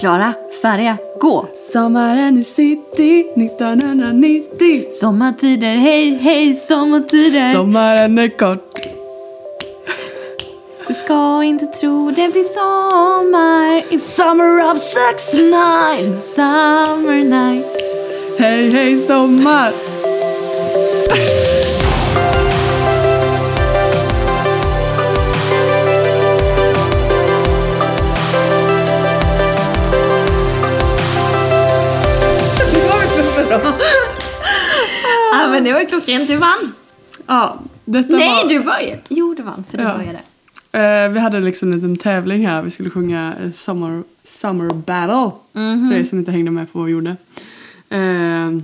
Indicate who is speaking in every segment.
Speaker 1: klara, färdiga, gå!
Speaker 2: Sommaren i city 1990.
Speaker 1: Sommartider, hej, hej, sommartider!
Speaker 2: Sommaren är kort.
Speaker 1: Du ska inte tro det blir sommar i
Speaker 2: Summer of 69.
Speaker 1: summer nights.
Speaker 2: Hej, hej sommar! Det var ju för bra.
Speaker 1: Ja, men det var klockrent, du vann!
Speaker 2: Ja, detta
Speaker 1: Nej,
Speaker 2: var...
Speaker 1: du började! Jo, du vann, för du
Speaker 2: Ja.
Speaker 1: började.
Speaker 2: Eh, vi hade liksom en liten tävling här. Vi skulle sjunga eh, Summer, summer Battle.
Speaker 1: Mhm.
Speaker 2: För er som inte hängde med på vad vi gjorde. Eh,
Speaker 1: Men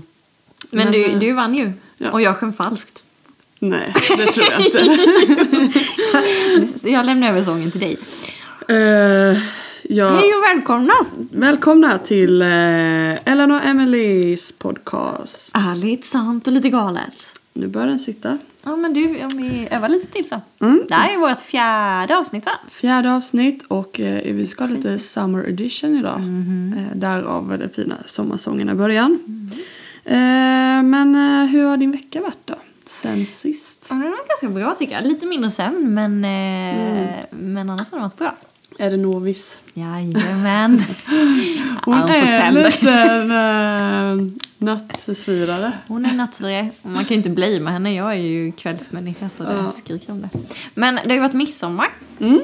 Speaker 1: eh, du, du vann ju.
Speaker 2: Ja.
Speaker 1: Och jag sjöng falskt.
Speaker 2: Nej, det tror jag inte.
Speaker 1: Så jag lämnar över sången till dig.
Speaker 2: Eh, ja,
Speaker 1: Hej och välkomna!
Speaker 2: Välkomna till eh, Ellen och Emelies podcast.
Speaker 1: Ärligt, sant och lite galet.
Speaker 2: Nu börjar den sitta.
Speaker 1: Ja, men du, om vi övar lite till så.
Speaker 2: Mm.
Speaker 1: Det här är vårt fjärde avsnitt, va?
Speaker 2: Fjärde avsnitt och eh, vi ska ha lite summer edition idag. Eh, därav den fina sommarsången i början. Eh, men eh, hur har din vecka varit då? Sen sist.
Speaker 1: Ja, men Den var ganska bra tycker jag. Lite mindre sömn men, eh,
Speaker 2: Mm.
Speaker 1: men annars har den varit bra.
Speaker 2: Är det novis?
Speaker 1: Jajamän.
Speaker 2: Hon
Speaker 1: Ja,
Speaker 2: är en
Speaker 1: tänder.
Speaker 2: liten eh, nattsvirare.
Speaker 1: Hon är nattvre. Och Man kan ju inte blima henne. Jag är ju kvällsmänniska så det
Speaker 2: Ja.
Speaker 1: skriker om det. Men det har ju varit midsommar.
Speaker 2: Mm.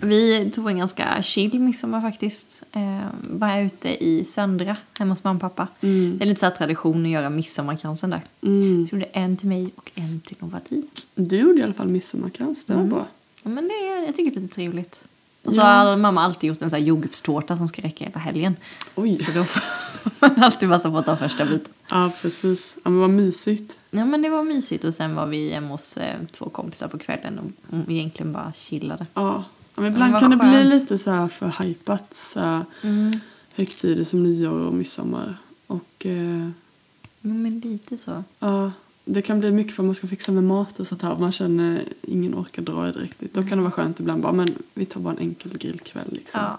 Speaker 1: Vi tog en ganska chill midsommar faktiskt. Eh, var ute i Söndra hemma hos mamma och pappa. Det är lite så här tradition att göra midsommarkransen där.
Speaker 2: Mm.
Speaker 1: Jag gjorde en till mig och en till Novati.
Speaker 2: Du gjorde i alla fall midsommarkrans, det var bra.
Speaker 1: Ja, men det är, jag tycker det är lite trevligt. Och så har mamma alltid gjort en sån här jordgubbstårta som ska räcka hela helgen.
Speaker 2: Oj.
Speaker 1: Så då får man alltid passa på att ta första biten.
Speaker 2: Ja, precis. Ja, men vad mysigt.
Speaker 1: Ja men det var mysigt och sen var vi hemma hos eh, två kompisar på kvällen och, och egentligen bara chillade.
Speaker 2: Ja, men Mm. ibland
Speaker 1: vad
Speaker 2: kan det bli
Speaker 1: skönt.
Speaker 2: lite så här för hypat. Så här Högtider som nyår och midsommar. Och eh,
Speaker 1: Jo men lite så.
Speaker 2: ja, det kan bli mycket för man ska fixa med mat och sånt här. Man känner ingen orkar dra i det riktigt.
Speaker 1: Mm.
Speaker 2: Då kan det vara skönt ibland bara, men vi tar bara en enkel grillkväll liksom.
Speaker 1: Ja.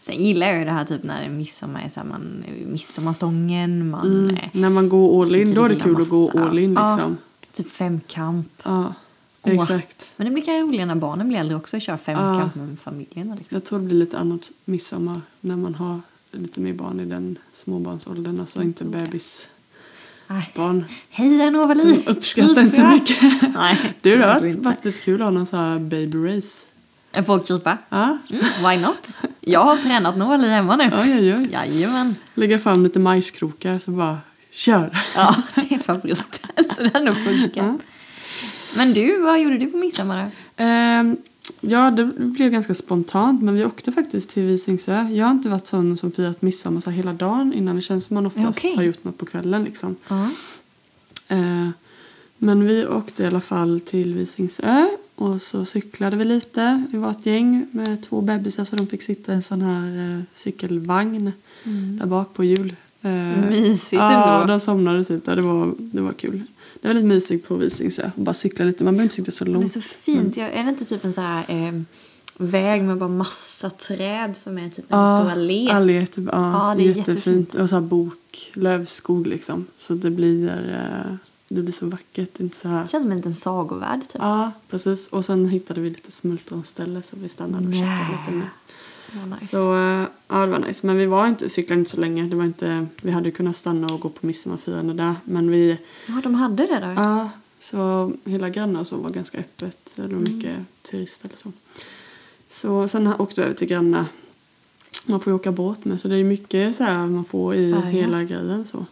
Speaker 1: Sen gillar jag ju det här typ när det är midsommar, är så här, man, midsommarstången, man... eh,
Speaker 2: När man går all in, då är det
Speaker 1: grillar
Speaker 2: kul att gå
Speaker 1: massa.
Speaker 2: all in
Speaker 1: Ja,
Speaker 2: liksom.
Speaker 1: typ femkamp.
Speaker 2: Ja,
Speaker 1: Åh.
Speaker 2: exakt.
Speaker 1: Men det blir kanske roligare när barnen blir äldre också och kör femkamp med familjerna liksom.
Speaker 2: Jag tror det blir lite annat midsommar när man har lite mer barn i den småbarnsåldern. Alltså inte
Speaker 1: Mm.
Speaker 2: bebisbarn.
Speaker 1: Nej. Hej Anova Li!
Speaker 2: Uppskattar inte så
Speaker 1: Krypfrö.
Speaker 2: mycket.
Speaker 1: Nej.
Speaker 2: Du då? Det har
Speaker 1: inte.
Speaker 2: varit lite kul att ha någon sån här baby race.
Speaker 1: Jag får krypa.
Speaker 2: Ja,
Speaker 1: Mm, why not? Jag har tränat Nova Li hemma nu.
Speaker 2: oj oj oj.
Speaker 1: Jajamän.
Speaker 2: Lägga fram lite majskrokar så bara kör.
Speaker 1: Ja, det är favorit. Så det har nog funkat.
Speaker 2: Mm.
Speaker 1: Men du, vad gjorde du på midsommar då?
Speaker 2: Ehm, ja, det blev ganska spontant men vi åkte faktiskt till Visingsö. Jag har inte varit sån som firat midsommar så här hela dagen innan. Det känns som man oftast
Speaker 1: Okej.
Speaker 2: har gjort något på kvällen liksom.
Speaker 1: Ja.
Speaker 2: Eh, Men vi åkte i alla fall till Visingsö och så cyklade vi lite. Vi var ett gäng med två bebisar så de fick sitta i en sån här eh, cykelvagn där bak på hjul. Eh,
Speaker 1: Mm. Mysigt
Speaker 2: ja,
Speaker 1: ändå.
Speaker 2: de somnade typ där. Det var, det var kul. Det var lite mysigt på Visingsö. Bara cykla lite. Man behöver inte sitta så
Speaker 1: Det är
Speaker 2: långt.
Speaker 1: så fint. Jag, är det inte typ en så här eh, väg med bara massa träd som är typ en stor allé?
Speaker 2: allé, typ, ja,
Speaker 1: Ja, det är
Speaker 2: jättefint.
Speaker 1: jättefint.
Speaker 2: Och så här bok, lövskog liksom. Så det blir, eh, det blir så vackert. Inte så här
Speaker 1: Det känns som en liten sagovärld typ.
Speaker 2: Ja, precis. Och sen hittade vi lite smultronställe som vi stannade och
Speaker 1: Nej.
Speaker 2: käkade lite med.
Speaker 1: Vad nice.
Speaker 2: Så eh, ja, det var nice. Men vi var inte, cyklade inte så länge. Det var inte, vi hade ju kunnat stanna och gå på midsommarfirande där. Men vi,
Speaker 1: Ja, de hade det då.
Speaker 2: ja, så hela grannar och så var ganska öppet. Det var mycket turister eller så. Så sen åkte vi över till grannar. Man får ju åka båt med så det är mycket så här man får i
Speaker 1: Färja.
Speaker 2: hela grejen så.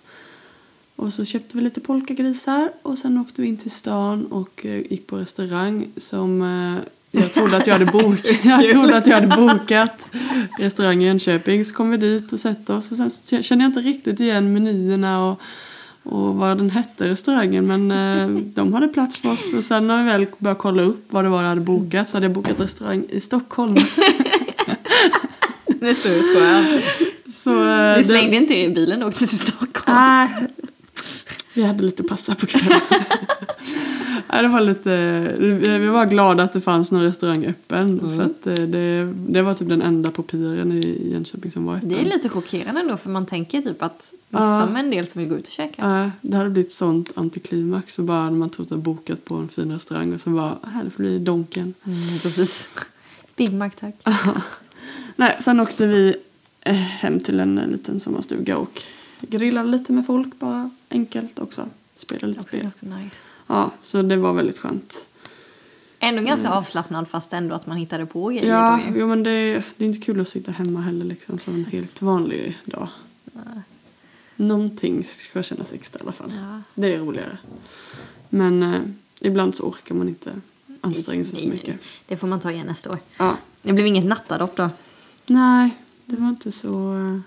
Speaker 2: Och så köpte vi lite polkagrisar och sen åkte vi in till stan och eh, gick på restaurang som eh, jag trodde att jag hade bokat. jag trodde att jag hade bokat restaurang i Jönköping. Så kom vi dit och satte oss och sen så kände jag inte riktigt igen menyerna och, och vad den hette restaurangen men eh, de hade plats för oss och sen när vi väl började kolla upp vad det var jag hade bokat så hade jag bokat restaurang i Stockholm.
Speaker 1: Det är så skönt.
Speaker 2: Så, eh,
Speaker 1: Du
Speaker 2: det-
Speaker 1: slängde inte i bilen och åkte till Stockholm.
Speaker 2: Nej. Vi hade lite pasta på kvällen. Ja, det var lite, vi var glada att det fanns någon restaurang öppen.
Speaker 1: Mm.
Speaker 2: För att eh, det, det var typ den enda på piren i Jönköping som var öppen.
Speaker 1: Det är lite chockerande ändå för man tänker typ att midsommar är en del som vill gå ut och käka.
Speaker 2: Ja, det hade blivit sånt antiklimax. Så bara när man trott att bokat på en fin restaurang och så bara, här det får bli Donken.
Speaker 1: Mm, precis. Big Mac tack.
Speaker 2: Nej, sen åkte vi eh, hem till en eh, liten sommarstuga och grillade lite med folk bara enkelt också. Spelade lite
Speaker 1: Också
Speaker 2: spel.
Speaker 1: Alltså, ganska nice.
Speaker 2: Ja, så det var väldigt skönt.
Speaker 1: Ändå ganska avslappnad fast ändå att man hittade på grejer.
Speaker 2: Mm. Ja,
Speaker 1: då ju.
Speaker 2: jo, men det, det är inte kul att sitta hemma heller liksom som en helt vanlig dag. Någonting ska kännas extra i alla fall.
Speaker 1: Ja.
Speaker 2: Det är roligare. Men eh, ibland så orkar man inte anstränga sig så
Speaker 1: Nej, nej,
Speaker 2: mycket.
Speaker 1: nej. Det får man ta igen nästa år.
Speaker 2: Ja.
Speaker 1: Det blev inget nattadopp då.
Speaker 2: Nej, det var inte så eh,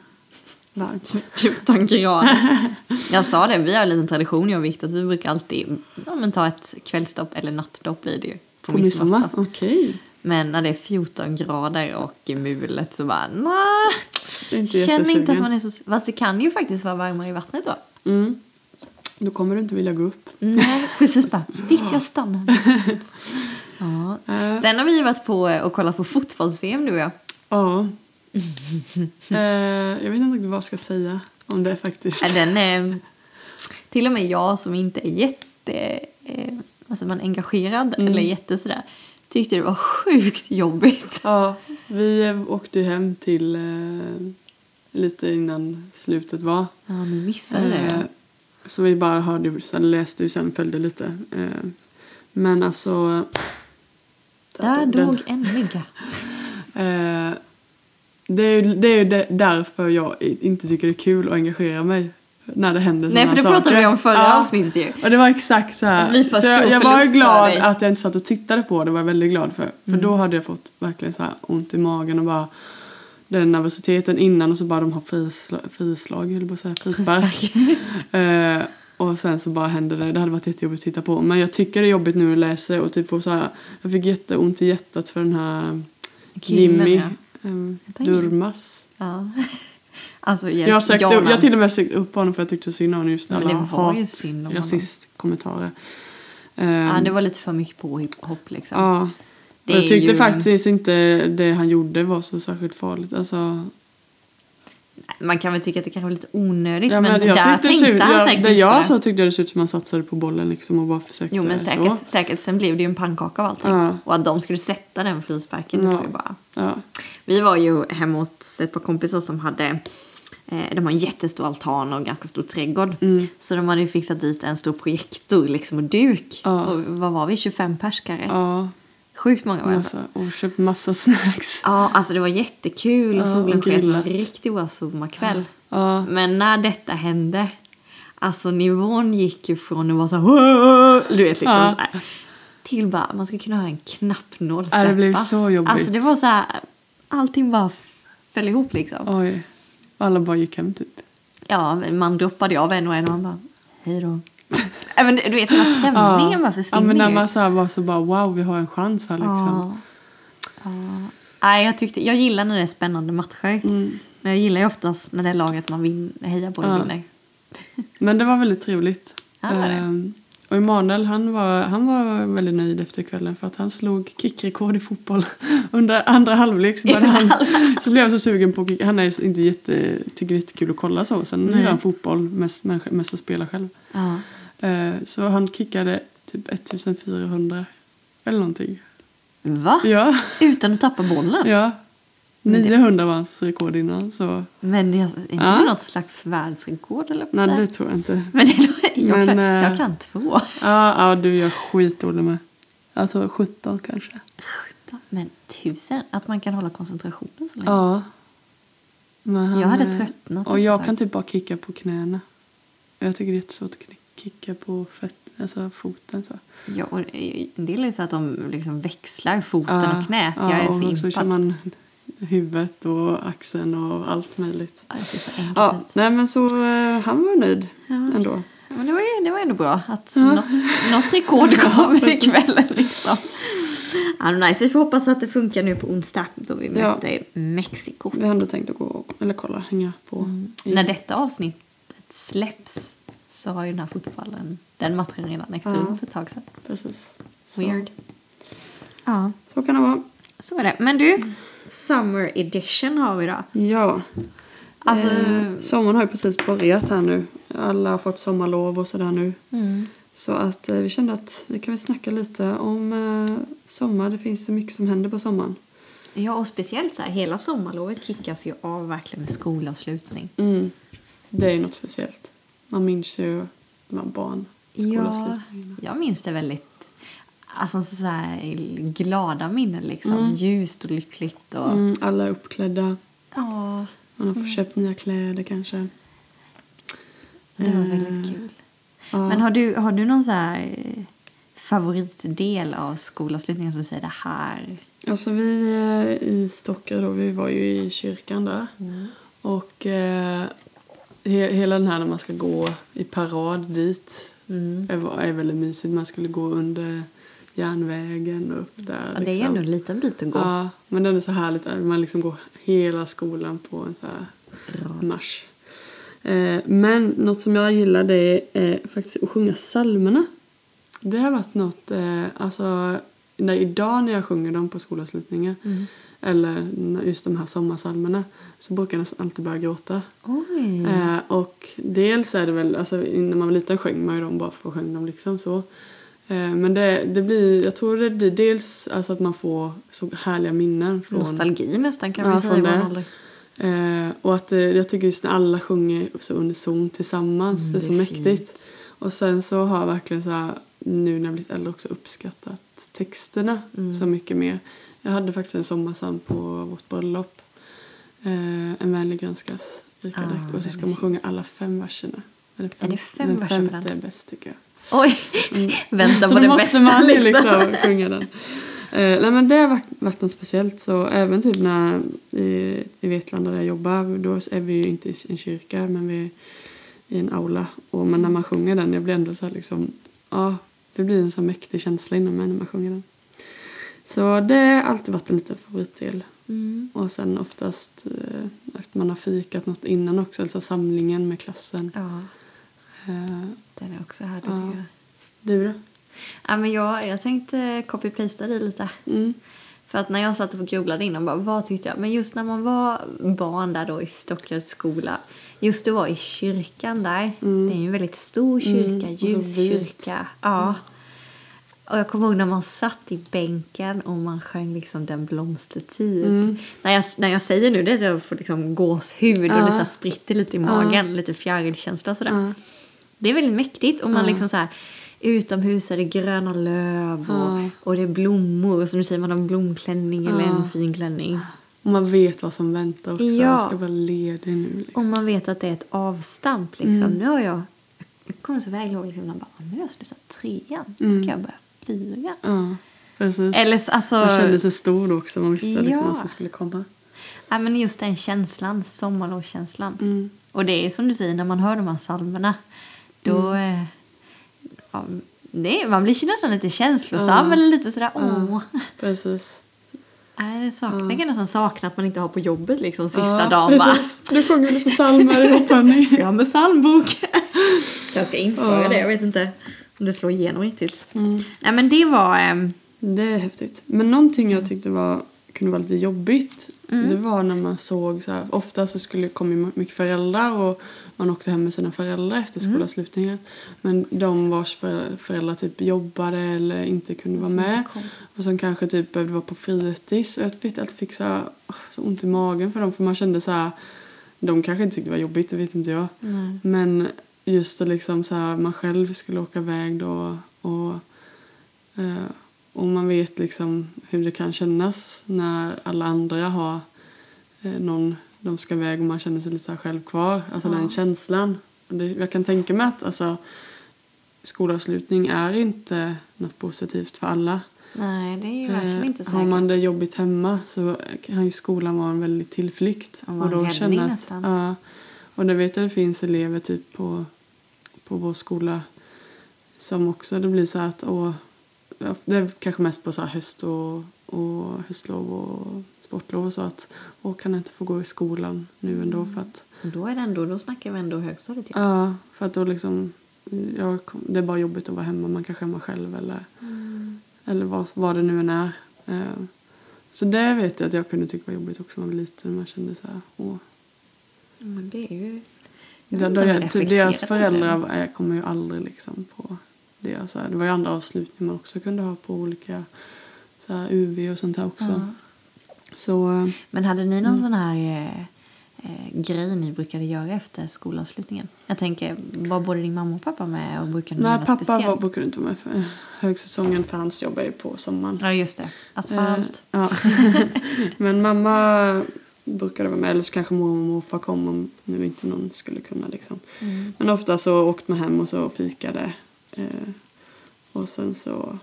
Speaker 2: varmt.
Speaker 1: 14 grader. Jag sa det, vi har en liten tradition jag och Viktor att vi brukar alltid ja, men ta ett kvällsdopp eller nattdopp blir det ju. På,
Speaker 2: På midsommar?
Speaker 1: midsommarafton.
Speaker 2: Okej.
Speaker 1: Men när det är 14 grader och i mulet så bara nej.
Speaker 2: Det är inte
Speaker 1: Känner inte att
Speaker 2: jättesugen.
Speaker 1: man är så... Fast det kan ju faktiskt vara varmare i vattnet då.
Speaker 2: Mm. Då kommer du inte vilja gå upp.
Speaker 1: Nej, precis bara. Viktor jag stannar. Ja.
Speaker 2: Eh,
Speaker 1: Sen har vi ju varit på eh, och kollat på fotbolls-VM du och jag.
Speaker 2: Ja. Eh, jag vet inte riktigt vad jag ska säga om det faktiskt.
Speaker 1: Ja, Den är, till och med jag som inte är jätte eh, alltså man är engagerad
Speaker 2: Mm.
Speaker 1: eller jätte sådär, tyckte det var sjukt jobbigt.
Speaker 2: Ja, vi eh, åkte ju hem till eh, lite innan slutet var.
Speaker 1: Ja, ni missade
Speaker 2: Eh,
Speaker 1: det.
Speaker 2: så vi bara hörde, sen läste och sen följde lite. Eh, men alltså...
Speaker 1: Där
Speaker 2: den-
Speaker 1: dog en mygga.
Speaker 2: Eh, det är ju, det är ju det, därför jag i- inte tycker det är kul att engagera mig när det händer
Speaker 1: Nej,
Speaker 2: såna
Speaker 1: för det
Speaker 2: här
Speaker 1: pratade
Speaker 2: saker.
Speaker 1: vi om förra
Speaker 2: Ja,
Speaker 1: avsnittet ju.
Speaker 2: Och det var exakt så
Speaker 1: Att vi
Speaker 2: här.
Speaker 1: får
Speaker 2: Så
Speaker 1: stor
Speaker 2: jag, jag var ju
Speaker 1: förlust för
Speaker 2: glad
Speaker 1: dig. Mm.
Speaker 2: att jag inte satt och tittade på det var jag väldigt glad för. För då hade jag fått verkligen så här ont i magen och bara den nervositeten innan och så bara de har frisla, frislag, eller bara säga frispark. eh, och sen så bara hände det. Det hade varit jättejobbigt att titta på. Men jag tycker det är jobbigt nu att läsa och typ få så här. Jag fick jätteont i hjärtat för den här
Speaker 1: Killen,
Speaker 2: Jimmy
Speaker 1: ja.
Speaker 2: ehm,
Speaker 1: Heter han Jimmy?
Speaker 2: Durmas.
Speaker 1: Ja. Alltså, hjälp,
Speaker 2: Jag, sökte,
Speaker 1: Janan.
Speaker 2: jag till och med sökte upp honom för jag tyckte synd om honom just
Speaker 1: Men
Speaker 2: alla
Speaker 1: det var ju
Speaker 2: hat-
Speaker 1: synd om honom.
Speaker 2: rasistkommentarer.
Speaker 1: ja,
Speaker 2: Ehm,
Speaker 1: det var lite för mycket påhopp liksom.
Speaker 2: Ja.
Speaker 1: Det
Speaker 2: Och jag
Speaker 1: är
Speaker 2: tyckte
Speaker 1: ju-
Speaker 2: faktiskt inte det han gjorde var så särskilt farligt. Alltså,
Speaker 1: Man kan väl tycka att det kanske var lite onödigt
Speaker 2: ja,
Speaker 1: men,
Speaker 2: men
Speaker 1: där
Speaker 2: jag tyckte det
Speaker 1: tänkte
Speaker 2: såg ut,
Speaker 1: han
Speaker 2: jag,
Speaker 1: säkert
Speaker 2: det jag
Speaker 1: inte på
Speaker 2: så tyckte jag det såg ut som han satsade på bollen liksom och bara försökte
Speaker 1: Jo men
Speaker 2: så.
Speaker 1: säkert, säkert. Sen blev det ju en pannkaka av allting.
Speaker 2: Ja.
Speaker 1: Och att de skulle sätta den frisparken det
Speaker 2: Ja.
Speaker 1: var ju bara...
Speaker 2: Ja.
Speaker 1: Vi var ju hemma hos ett par kompisar som hade eh, de har en jättestor altan och en ganska stor trädgård.
Speaker 2: Mm.
Speaker 1: Så de hade ju fixat dit en stor projektor liksom, och duk.
Speaker 2: Ja.
Speaker 1: Och vad var vi? 25 pers kanske?
Speaker 2: Ja,
Speaker 1: Sjukt många var det.
Speaker 2: massa, och köpt massa snacks.
Speaker 1: Ja, alltså det var jättekul och
Speaker 2: Ja,
Speaker 1: solen
Speaker 2: och
Speaker 1: sken som en
Speaker 2: grillat.
Speaker 1: riktig sommarkväll.
Speaker 2: Ja.
Speaker 1: Men när detta hände, alltså nivån gick ju från att vara så här, du vet liksom
Speaker 2: Ja.
Speaker 1: så här, till bara man skulle kunna ha en knappnål
Speaker 2: Ja, det blev så jobbigt.
Speaker 1: Alltså det var så här, allting bara föll ihop liksom.
Speaker 2: Oj. Alla bara gick hem typ.
Speaker 1: Ja, man droppade ju av en och en och man bara, hej då. Ja, men du vet hela stämningen bara
Speaker 2: ja,
Speaker 1: försvinner
Speaker 2: men när
Speaker 1: ju.
Speaker 2: man så här var så bara wow vi har en chans här
Speaker 1: Ja.
Speaker 2: liksom.
Speaker 1: Ja. Nej, jag, tyckte, jag gillar när det är spännande matcher. Men jag gillar ju oftast när det är laget man vin, hejar på
Speaker 2: Mm. Ja.
Speaker 1: vinner.
Speaker 2: Men det var väldigt trevligt.
Speaker 1: Ja, det var det.
Speaker 2: Ehm, och Emanuel han var, han var väldigt nöjd efter kvällen för att han slog kickrekord i fotboll. Under andra halvlek så, började han, så blev jag så sugen på kick. Han är inte jätte, tycker det är jättekul att kolla så. Sen gillar han fotboll mest, men- mest att spela själv.
Speaker 1: Ja.
Speaker 2: Ehm, så han kickade typ 1400 eller någonting.
Speaker 1: Va?
Speaker 2: Ja,
Speaker 1: Utan att tappa bollen?
Speaker 2: ja. 900 var hans rekord innan så.
Speaker 1: Men jag, är inte
Speaker 2: Ja.
Speaker 1: det något slags världsrekord eller
Speaker 2: Nej det
Speaker 1: det...
Speaker 2: tror jag inte.
Speaker 1: Men det, är- jag,
Speaker 2: Men,
Speaker 1: kan,
Speaker 2: eh,
Speaker 1: jag kan två.
Speaker 2: Ja, ja du gör skitdålig med. Jag tror 17 kanske.
Speaker 1: Men tusen, att man kan hålla koncentrationen så länge.
Speaker 2: Ja. Men han,
Speaker 1: Jag hade
Speaker 2: eh,
Speaker 1: tröttnat
Speaker 2: Och jag
Speaker 1: efter
Speaker 2: kan
Speaker 1: ett
Speaker 2: typ bara kicka på knäna. Jag tycker det är jättesvårt att knick- kicka på föt, alltså foten. Så.
Speaker 1: Ja, och en del är ju så att de liksom växlar foten
Speaker 2: Ja,
Speaker 1: och knät.
Speaker 2: ja,
Speaker 1: jag är
Speaker 2: och
Speaker 1: så
Speaker 2: så kör
Speaker 1: impad.
Speaker 2: man huvudet och axeln och allt möjligt.
Speaker 1: Ja, det ser så enkelt
Speaker 2: Ja,
Speaker 1: ut.
Speaker 2: nej men så eh, han var nöjd ändå.
Speaker 1: Men det var, ju, det var ändå bra att något, något rekord kom i kvällen liksom. Ja, men nice. Vi får hoppas att det funkar nu på onsdag då vi
Speaker 2: Ja.
Speaker 1: möter Mexiko. Mm.
Speaker 2: Vi har ändå tänkt att gå och- eller kolla, hänga på. i-
Speaker 1: När detta avsnittet släpps så har ju den här fotbollen, den matchen redan ägt rum
Speaker 2: Ja.
Speaker 1: för ett tag sedan.
Speaker 2: Precis. Så.
Speaker 1: Weird. Ja, Mm.
Speaker 2: Så kan det vara.
Speaker 1: så är det. Men du, Summer Edition har vi då.
Speaker 2: Ja.
Speaker 1: Alltså-
Speaker 2: Eh, sommaren har ju precis börjat här nu. Alla har fått sommarlov och sådär nu. Så att eh, vi kände att vi kan väl snacka lite om eh, sommar. Det finns så mycket som händer på sommaren.
Speaker 1: Ja, och speciellt så här, hela sommarlovet kickas ju av verkligen med skolavslutning.
Speaker 2: Mm. Det är ju något speciellt. Man minns ju när man var barn.
Speaker 1: Ja,
Speaker 2: skolavslutningarna.
Speaker 1: jag minns det väldigt alltså, så här, glada minnen liksom. Ljust och lyckligt och...
Speaker 2: Mm, alla är uppklädda.
Speaker 1: Ja,
Speaker 2: Man har fått köpt nya kläder kanske.
Speaker 1: det var
Speaker 2: Eh,
Speaker 1: väldigt kul.
Speaker 2: ja.
Speaker 1: Men har du, har du någon så här eh, favoritdel av skolavslutningen som du säger det här?
Speaker 2: Alltså vi eh, i Stockholm då, vi var ju i kyrkan där.
Speaker 1: Mm.
Speaker 2: Och eh, he, hela den här när man ska gå i parad dit
Speaker 1: Mm.
Speaker 2: är, var- är väldigt mysigt. Man skulle gå under järnvägen och upp där.
Speaker 1: Ja, det är ju
Speaker 2: liksom.
Speaker 1: ändå en liten bit att gå.
Speaker 2: Ja, men den är så härligt. att Man liksom går hela skolan på en så här marsch. Eh, men något som jag gillar det är eh, faktiskt att sjunga psalmerna. Det har varit något, eh, alltså när, idag när jag sjunger dem på skolavslutningen eller när- just de här sommarsalmerna så brukar jag nästan alltid börja gråta.
Speaker 1: Oj!
Speaker 2: Eh, och dels är det väl, alltså när man var liten sjöng man ju dem bara för att sjunga dem liksom så. Eh, men det, det blir, jag tror det blir dels alltså att man får så härliga minnen från
Speaker 1: Nostalgi nästan kan vi
Speaker 2: Ja,
Speaker 1: säga i
Speaker 2: från
Speaker 1: vår
Speaker 2: det.
Speaker 1: ålder.
Speaker 2: Eh, och att eh, jag tycker just när alla sjunger så under zon tillsammans, det är så
Speaker 1: Mm, det är
Speaker 2: mäktigt. Och sen så har jag verkligen så här, nu när jag blivit äldre också uppskattat texterna
Speaker 1: Mm.
Speaker 2: så mycket mer. Jag hade faktiskt en sommarsalm på vårt bröllop. Eh, en vänlig önskas rika
Speaker 1: Ah,
Speaker 2: dräkt. Och så
Speaker 1: den
Speaker 2: ska man sjunga alla fem verserna. Eller fem,
Speaker 1: det fem
Speaker 2: den
Speaker 1: verser på
Speaker 2: femte är
Speaker 1: den?
Speaker 2: bäst tycker jag.
Speaker 1: Oj! Vänta
Speaker 2: Så
Speaker 1: på
Speaker 2: då
Speaker 1: det
Speaker 2: måste
Speaker 1: bästa
Speaker 2: man ju
Speaker 1: liksom.
Speaker 2: liksom sjunga den. Eh, nej men det har varit, varit något speciellt. Så även typ när i, i Vetlanda där jag jobbar, då är vi ju inte i en kyrka men vi är i en aula. Och, men när man sjunger den, jag blir ändå så här liksom, ja, det blir en så här mäktig känsla inom mig när man sjunger den. Så det har alltid varit en liten favoritdel.
Speaker 1: Mm.
Speaker 2: Och sen oftast eh, att man har fikat något innan också, alltså samlingen med klassen.
Speaker 1: Ja,
Speaker 2: Eh,
Speaker 1: den är också härlig
Speaker 2: Ja.
Speaker 1: tycker jag.
Speaker 2: du då?
Speaker 1: Ja, men jag, jag tänkte copy-pasta dig lite.
Speaker 2: Mm.
Speaker 1: För att när jag satt och googlade innan, bara, vad tyckte jag? Men just när man var barn där då i Stockholms skola, just det var i kyrkan där. Det är ju en väldigt stor kyrka,
Speaker 2: Mm, och så
Speaker 1: ljus
Speaker 2: vit.
Speaker 1: kyrka. Ja. Mm. Och jag kommer ihåg när man satt i bänken och man sjöng liksom Den blomstertid.
Speaker 2: Mm.
Speaker 1: När, jag, när jag säger nu det så jag får liksom gåshud och det så här spritter lite i magen, lite fjärilkänsla sådär. Det är väldigt mäktigt och man liksom så här utomhus är det gröna löv och,
Speaker 2: Ja.
Speaker 1: och det är blommor och som du säger man har en blomklänning eller
Speaker 2: Ja.
Speaker 1: en fin klänning.
Speaker 2: Och man vet vad som väntar också.
Speaker 1: Ja.
Speaker 2: Man ska vara ledig nu.
Speaker 1: Och
Speaker 2: Liksom.
Speaker 1: man vet att det är ett avstamp liksom.
Speaker 2: Mm.
Speaker 1: Nu har jag, jag kommer så väl ihåg liksom, när jag bara, nu har jag slutat trean, nu
Speaker 2: Mm.
Speaker 1: ska jag börja fyran.
Speaker 2: Ja, precis.
Speaker 1: Eller så- alltså,
Speaker 2: Man kände sig stor då också. Man visste
Speaker 1: Ja.
Speaker 2: liksom vad som skulle komma.
Speaker 1: ja, men just den känslan, sommarlovskänslan.
Speaker 2: Mm.
Speaker 1: Och det är som du säger, när man hör de här psalmerna, då...
Speaker 2: Mm.
Speaker 1: eh, Ja, det är, man blir nästan lite känslosam
Speaker 2: Ja.
Speaker 1: eller lite sådär åh.
Speaker 2: Precis.
Speaker 1: Nej, det saknar. Jag kan nästan sakna att man inte har på jobbet liksom sista
Speaker 2: ja,
Speaker 1: dagen bara.
Speaker 2: precis. Nu sjunger vi lite psalmer ihop hörni.
Speaker 1: Jag har med psalmbok. jag ska införa
Speaker 2: Ja.
Speaker 1: det, jag vet inte om det slår igenom riktigt.
Speaker 2: Mm.
Speaker 1: Nej men det var... ehm,
Speaker 2: Det är häftigt. Men någonting jag tyckte var, kunde vara lite jobbigt
Speaker 1: Mm.
Speaker 2: det var när man såg så här, ofta så skulle kom ju mycket föräldrar och man åkte hem med sina föräldrar efter
Speaker 1: Mm.
Speaker 2: skolavslutningen. Men de vars förä- föräldrar typ jobbade eller inte kunde vara
Speaker 1: Som inte
Speaker 2: med
Speaker 1: kom.
Speaker 2: och som kanske typ behövde vara på fritids. Och jag fick, jag fick så, här, åh, så ont i magen för dem för man kände så här, de kanske inte tyckte det var jobbigt, det vet inte jag.
Speaker 1: Nej.
Speaker 2: Men just att liksom så här, man själv skulle åka iväg då och Eh, och man vet liksom hur det kan kännas när alla andra har eh, någon de ska iväg och man känner sig lite så här själv kvar. Alltså den känslan. Och det, jag kan tänka mig att alltså, skolavslutning är inte något positivt för alla.
Speaker 1: nej, det är ju verkligen
Speaker 2: Eh,
Speaker 1: inte
Speaker 2: har
Speaker 1: säkert.
Speaker 2: man det jobbigt hemma så kan ju skolan vara en väldig tillflykt.
Speaker 1: Ja, en räddning nästan.
Speaker 2: Ja, och det vet jag det finns elever typ på, på vår skola som också, det blir så här att åh, ja, det är kanske mest på så här höst och, och höstlov och sportlov och så att åh, kan jag inte få gå i
Speaker 1: Mm.
Speaker 2: skolan nu ändå för att
Speaker 1: Då är det ändå, då snackar vi ändå högstadiet. typ. ju.
Speaker 2: Ja, för att då liksom jag, kom- det är bara jobbigt att vara hemma. Man kanske är hemma själv eller,
Speaker 1: Mm.
Speaker 2: eller vad, vad det nu än är. Eh, Så det vet jag att jag kunde tycka var jobbigt också när man var liten. Man kände så här, åh.
Speaker 1: Men det är ju... jag
Speaker 2: Ja,
Speaker 1: vet inte
Speaker 2: då
Speaker 1: om
Speaker 2: det,
Speaker 1: jag
Speaker 2: typ, deras
Speaker 1: reflekterar över det.
Speaker 2: föräldrar eh, kommer ju aldrig liksom på det. Så här, det var ju andra avslutningar man också kunde ha på olika så här, UV och sånt här också.
Speaker 1: Ja.
Speaker 2: Så eh,
Speaker 1: Men hade ni någon sån här eh, eh, grej ni brukade göra efter skolavslutningen? Jag tänker, var både din mamma och pappa med och brukade ni
Speaker 2: nej,
Speaker 1: göra något
Speaker 2: pappa var,
Speaker 1: speciellt?
Speaker 2: brukade inte vara med för eh, högsäsongen för hans jobb är ju på sommaren.
Speaker 1: Ja, just det. Alltså, Asfalt.
Speaker 2: Eh, ja. Men mamma brukade vara med, eller så kanske mormor och morfar kom om nu inte någon skulle kunna. Liksom.
Speaker 1: Mm.
Speaker 2: Men ofta så åkte man hem och så fikade. Eh, och sen så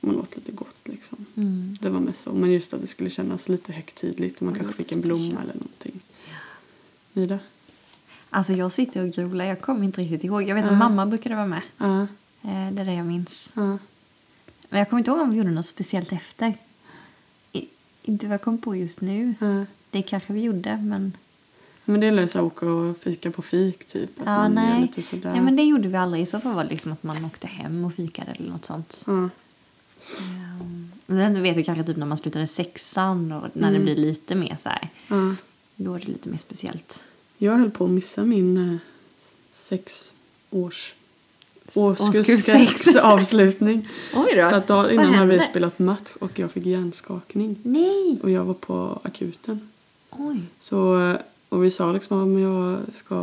Speaker 2: man åt lite gott liksom.
Speaker 1: Mm.
Speaker 2: Det var mest så. Men just att det skulle kännas lite högtidligt och man
Speaker 1: Ja,
Speaker 2: kanske
Speaker 1: lite
Speaker 2: fick en
Speaker 1: special.
Speaker 2: blomma eller någonting. Ida?
Speaker 1: Alltså jag sitter och grubblar, jag kommer inte riktigt ihåg. Jag vet att
Speaker 2: Ja.
Speaker 1: mamma brukade vara med.
Speaker 2: Ja.
Speaker 1: Eh, Det är det jag minns.
Speaker 2: ja.
Speaker 1: Men jag kommer inte ihåg om vi gjorde något speciellt efter. I, inte vad jag kom på just nu.
Speaker 2: ja.
Speaker 1: Det kanske vi gjorde, men...
Speaker 2: Men det är lite så här åka och fika på fik typ. Att
Speaker 1: Ja,
Speaker 2: man gör
Speaker 1: nej.
Speaker 2: Lite sådär.
Speaker 1: nej. men det gjorde vi aldrig. I så fall var det liksom att man åkte hem och fikade eller något sånt.
Speaker 2: ja.
Speaker 1: Ehm, Men du vet jag kanske typ när man slutade sexan och när det
Speaker 2: Mm.
Speaker 1: blir lite mer så här.
Speaker 2: Ja.
Speaker 1: Då är det lite mer speciellt.
Speaker 2: Jag höll på att missa min eh, sex års
Speaker 1: Årskurs
Speaker 2: årskurs
Speaker 1: sex.
Speaker 2: sex avslutning.
Speaker 1: Oj då!
Speaker 2: För att dagen innan hade vi
Speaker 1: hände?
Speaker 2: spelat match och jag fick hjärnskakning.
Speaker 1: Nej!
Speaker 2: Och jag var på akuten.
Speaker 1: Oj.
Speaker 2: Så, eh, och vi sa liksom att jag ska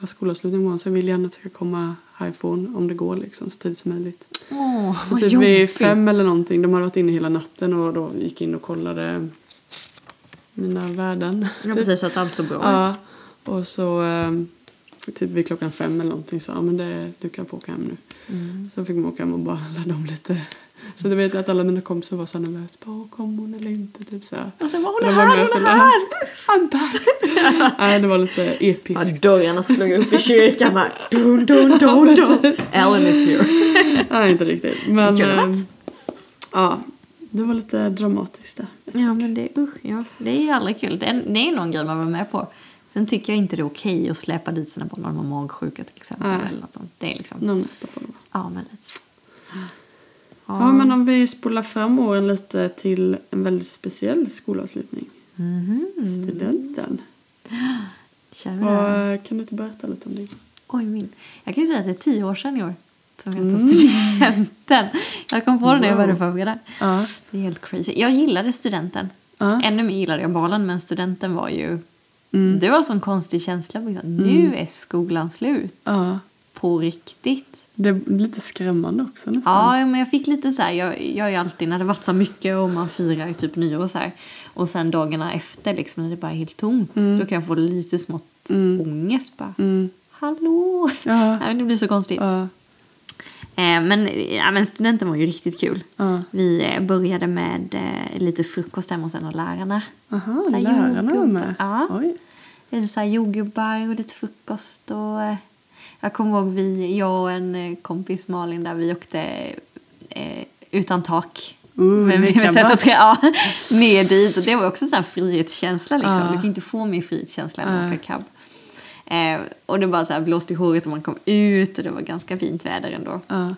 Speaker 2: ha skolavslutning imorgon så jag vill gärna att jag ska komma härifrån om det går liksom så tidigt som möjligt.
Speaker 1: Åh,
Speaker 2: Så
Speaker 1: vad
Speaker 2: typ vid
Speaker 1: jobbigt.
Speaker 2: fem eller någonting, de hade varit inne hela natten och då gick in och kollade mina värden.
Speaker 1: Ja,
Speaker 2: typ.
Speaker 1: precis. Så att allt såg bra ut.
Speaker 2: Ja, och så eh, typ vid klockan fem eller någonting så ja men det, du kan få åka hem nu.
Speaker 1: Mm.
Speaker 2: Så fick man åka hem och bara ladda om lite. Så du vet jag att alla mina kompisar var så nervösa. Bara, "Åh, kom hon eller inte? Typ så här.
Speaker 1: Och sen bara,
Speaker 2: Och
Speaker 1: Alltså, hon
Speaker 2: de
Speaker 1: är här,
Speaker 2: var med
Speaker 1: hon
Speaker 2: och
Speaker 1: är
Speaker 2: spelade.
Speaker 1: här!
Speaker 2: I'm back! Nej, det var lite episkt.
Speaker 1: dörrarna slog upp i kyrkan bara. Dun, dun, dun, dun. Ellen is here.
Speaker 2: Nej, inte riktigt. Men,
Speaker 1: Kunde
Speaker 2: eh,
Speaker 1: varit.
Speaker 2: ja, det var lite dramatiskt där.
Speaker 1: Ja, men det, usch, ja. det är ju aldrig kul. Det är, det är någon grej man var med på. Sen tycker jag inte det är okej att släpa dit sina barn när de har magsjuka till exempel.
Speaker 2: Nej.
Speaker 1: Eller något sånt. Det är liksom,
Speaker 2: Någon måtta får det vara.
Speaker 1: ja men lite så.
Speaker 2: Ja, men om vi spolar fram åren lite till en väldigt speciell skolavslutning.
Speaker 1: Mhm.
Speaker 2: Studenten.
Speaker 1: Kära.
Speaker 2: Vad- kan du inte berätta lite om det?
Speaker 1: Oj, min. Jag kan ju säga att det är tio år sedan i år som jag tog studenten. Jag kom på det när jag började
Speaker 2: Mm. Wow.
Speaker 1: förbereda.
Speaker 2: Ja.
Speaker 1: Det är helt crazy. Jag gillade studenten.
Speaker 2: Ja. Mm.
Speaker 1: Ännu mer gillade jag balen, men studenten var ju... Det var en sån konstig känsla. Liksom. Nu är skolan slut.
Speaker 2: ja.
Speaker 1: På riktigt.
Speaker 2: Det är lite skrämmande också nästan.
Speaker 1: Ja, men jag fick lite så här. Jag, jag är ju alltid när det varit så mycket och man firar typ nyår och så här. Och sen dagarna efter liksom när det bara är helt tomt.
Speaker 2: Mm.
Speaker 1: Då kan jag få lite smått ångest bara. Hallå!
Speaker 2: Ja.
Speaker 1: Nej, men det blir så konstigt.
Speaker 2: Ja.
Speaker 1: Eh, men, ja, men studenten var ju riktigt kul.
Speaker 2: Ja.
Speaker 1: Vi eh, började med eh, lite frukost hemma hos en av lärarna.
Speaker 2: Aha,
Speaker 1: Så här
Speaker 2: lärarna var
Speaker 1: jordgubbar.
Speaker 2: med.
Speaker 1: Ja.
Speaker 2: Oj.
Speaker 1: Lite så här jordgubbar och lite frukost. Och, eh, jag kommer ihåg vi, jag och en eh, kompis Malin där vi åkte eh, utan tak.
Speaker 2: Uh,
Speaker 1: men vi
Speaker 2: vilken
Speaker 1: vi sätter
Speaker 2: makt.
Speaker 1: tre, ja, ner dit. Och det var också en sån här frihetskänsla. Liksom.
Speaker 2: Ja.
Speaker 1: Du kan inte få mer frihetskänsla än
Speaker 2: Ja.
Speaker 1: att åka cab. Eh, och det bara så här blåste i håret och man kom ut och det var ganska fint väder ändå.
Speaker 2: Ja.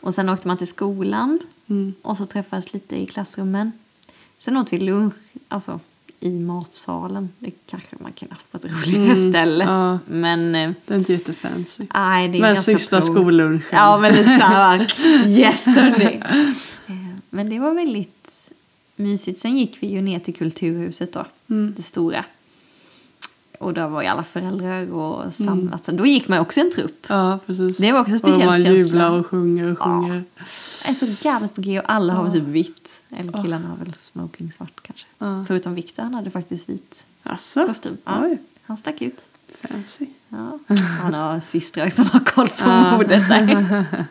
Speaker 1: Och sen åkte man till skolan
Speaker 2: Mm.
Speaker 1: och så träffades lite i klassrummen. Sen åt vi lunch, alltså i matsalen. Det kanske man kunde haft på ett roligare ställe.
Speaker 2: Mm. ja.
Speaker 1: Men eh,
Speaker 2: Det är inte jättefancy.
Speaker 1: nej, det är
Speaker 2: Men
Speaker 1: ganska
Speaker 2: sista
Speaker 1: prov.
Speaker 2: skollunchen.
Speaker 1: Ja, men lite såhär yes hörni. Eh, Men det var väldigt mysigt. Sen gick vi ju ner till Kulturhuset då,
Speaker 2: Mm.
Speaker 1: det stora. Och där var ju alla föräldrar
Speaker 2: Mm.
Speaker 1: och samlats. Då gick man också en trupp.
Speaker 2: Ja, precis.
Speaker 1: Det var också en
Speaker 2: Och
Speaker 1: speciell
Speaker 2: man
Speaker 1: känsla.
Speaker 2: jublar och sjunger och
Speaker 1: Ja.
Speaker 2: sjunger.
Speaker 1: Jag är så galet på G och alla har typ vitt. Eller killarna har väl smoking svart kanske.
Speaker 2: Ja.
Speaker 1: Förutom Victor, han hade faktiskt vit
Speaker 2: Jaså?
Speaker 1: kostym. Ja.
Speaker 2: Alltså, Oj,
Speaker 1: Han stack ut.
Speaker 2: fancy.
Speaker 1: Ja. Han har systrar som har koll på
Speaker 2: Ja.
Speaker 1: modet där.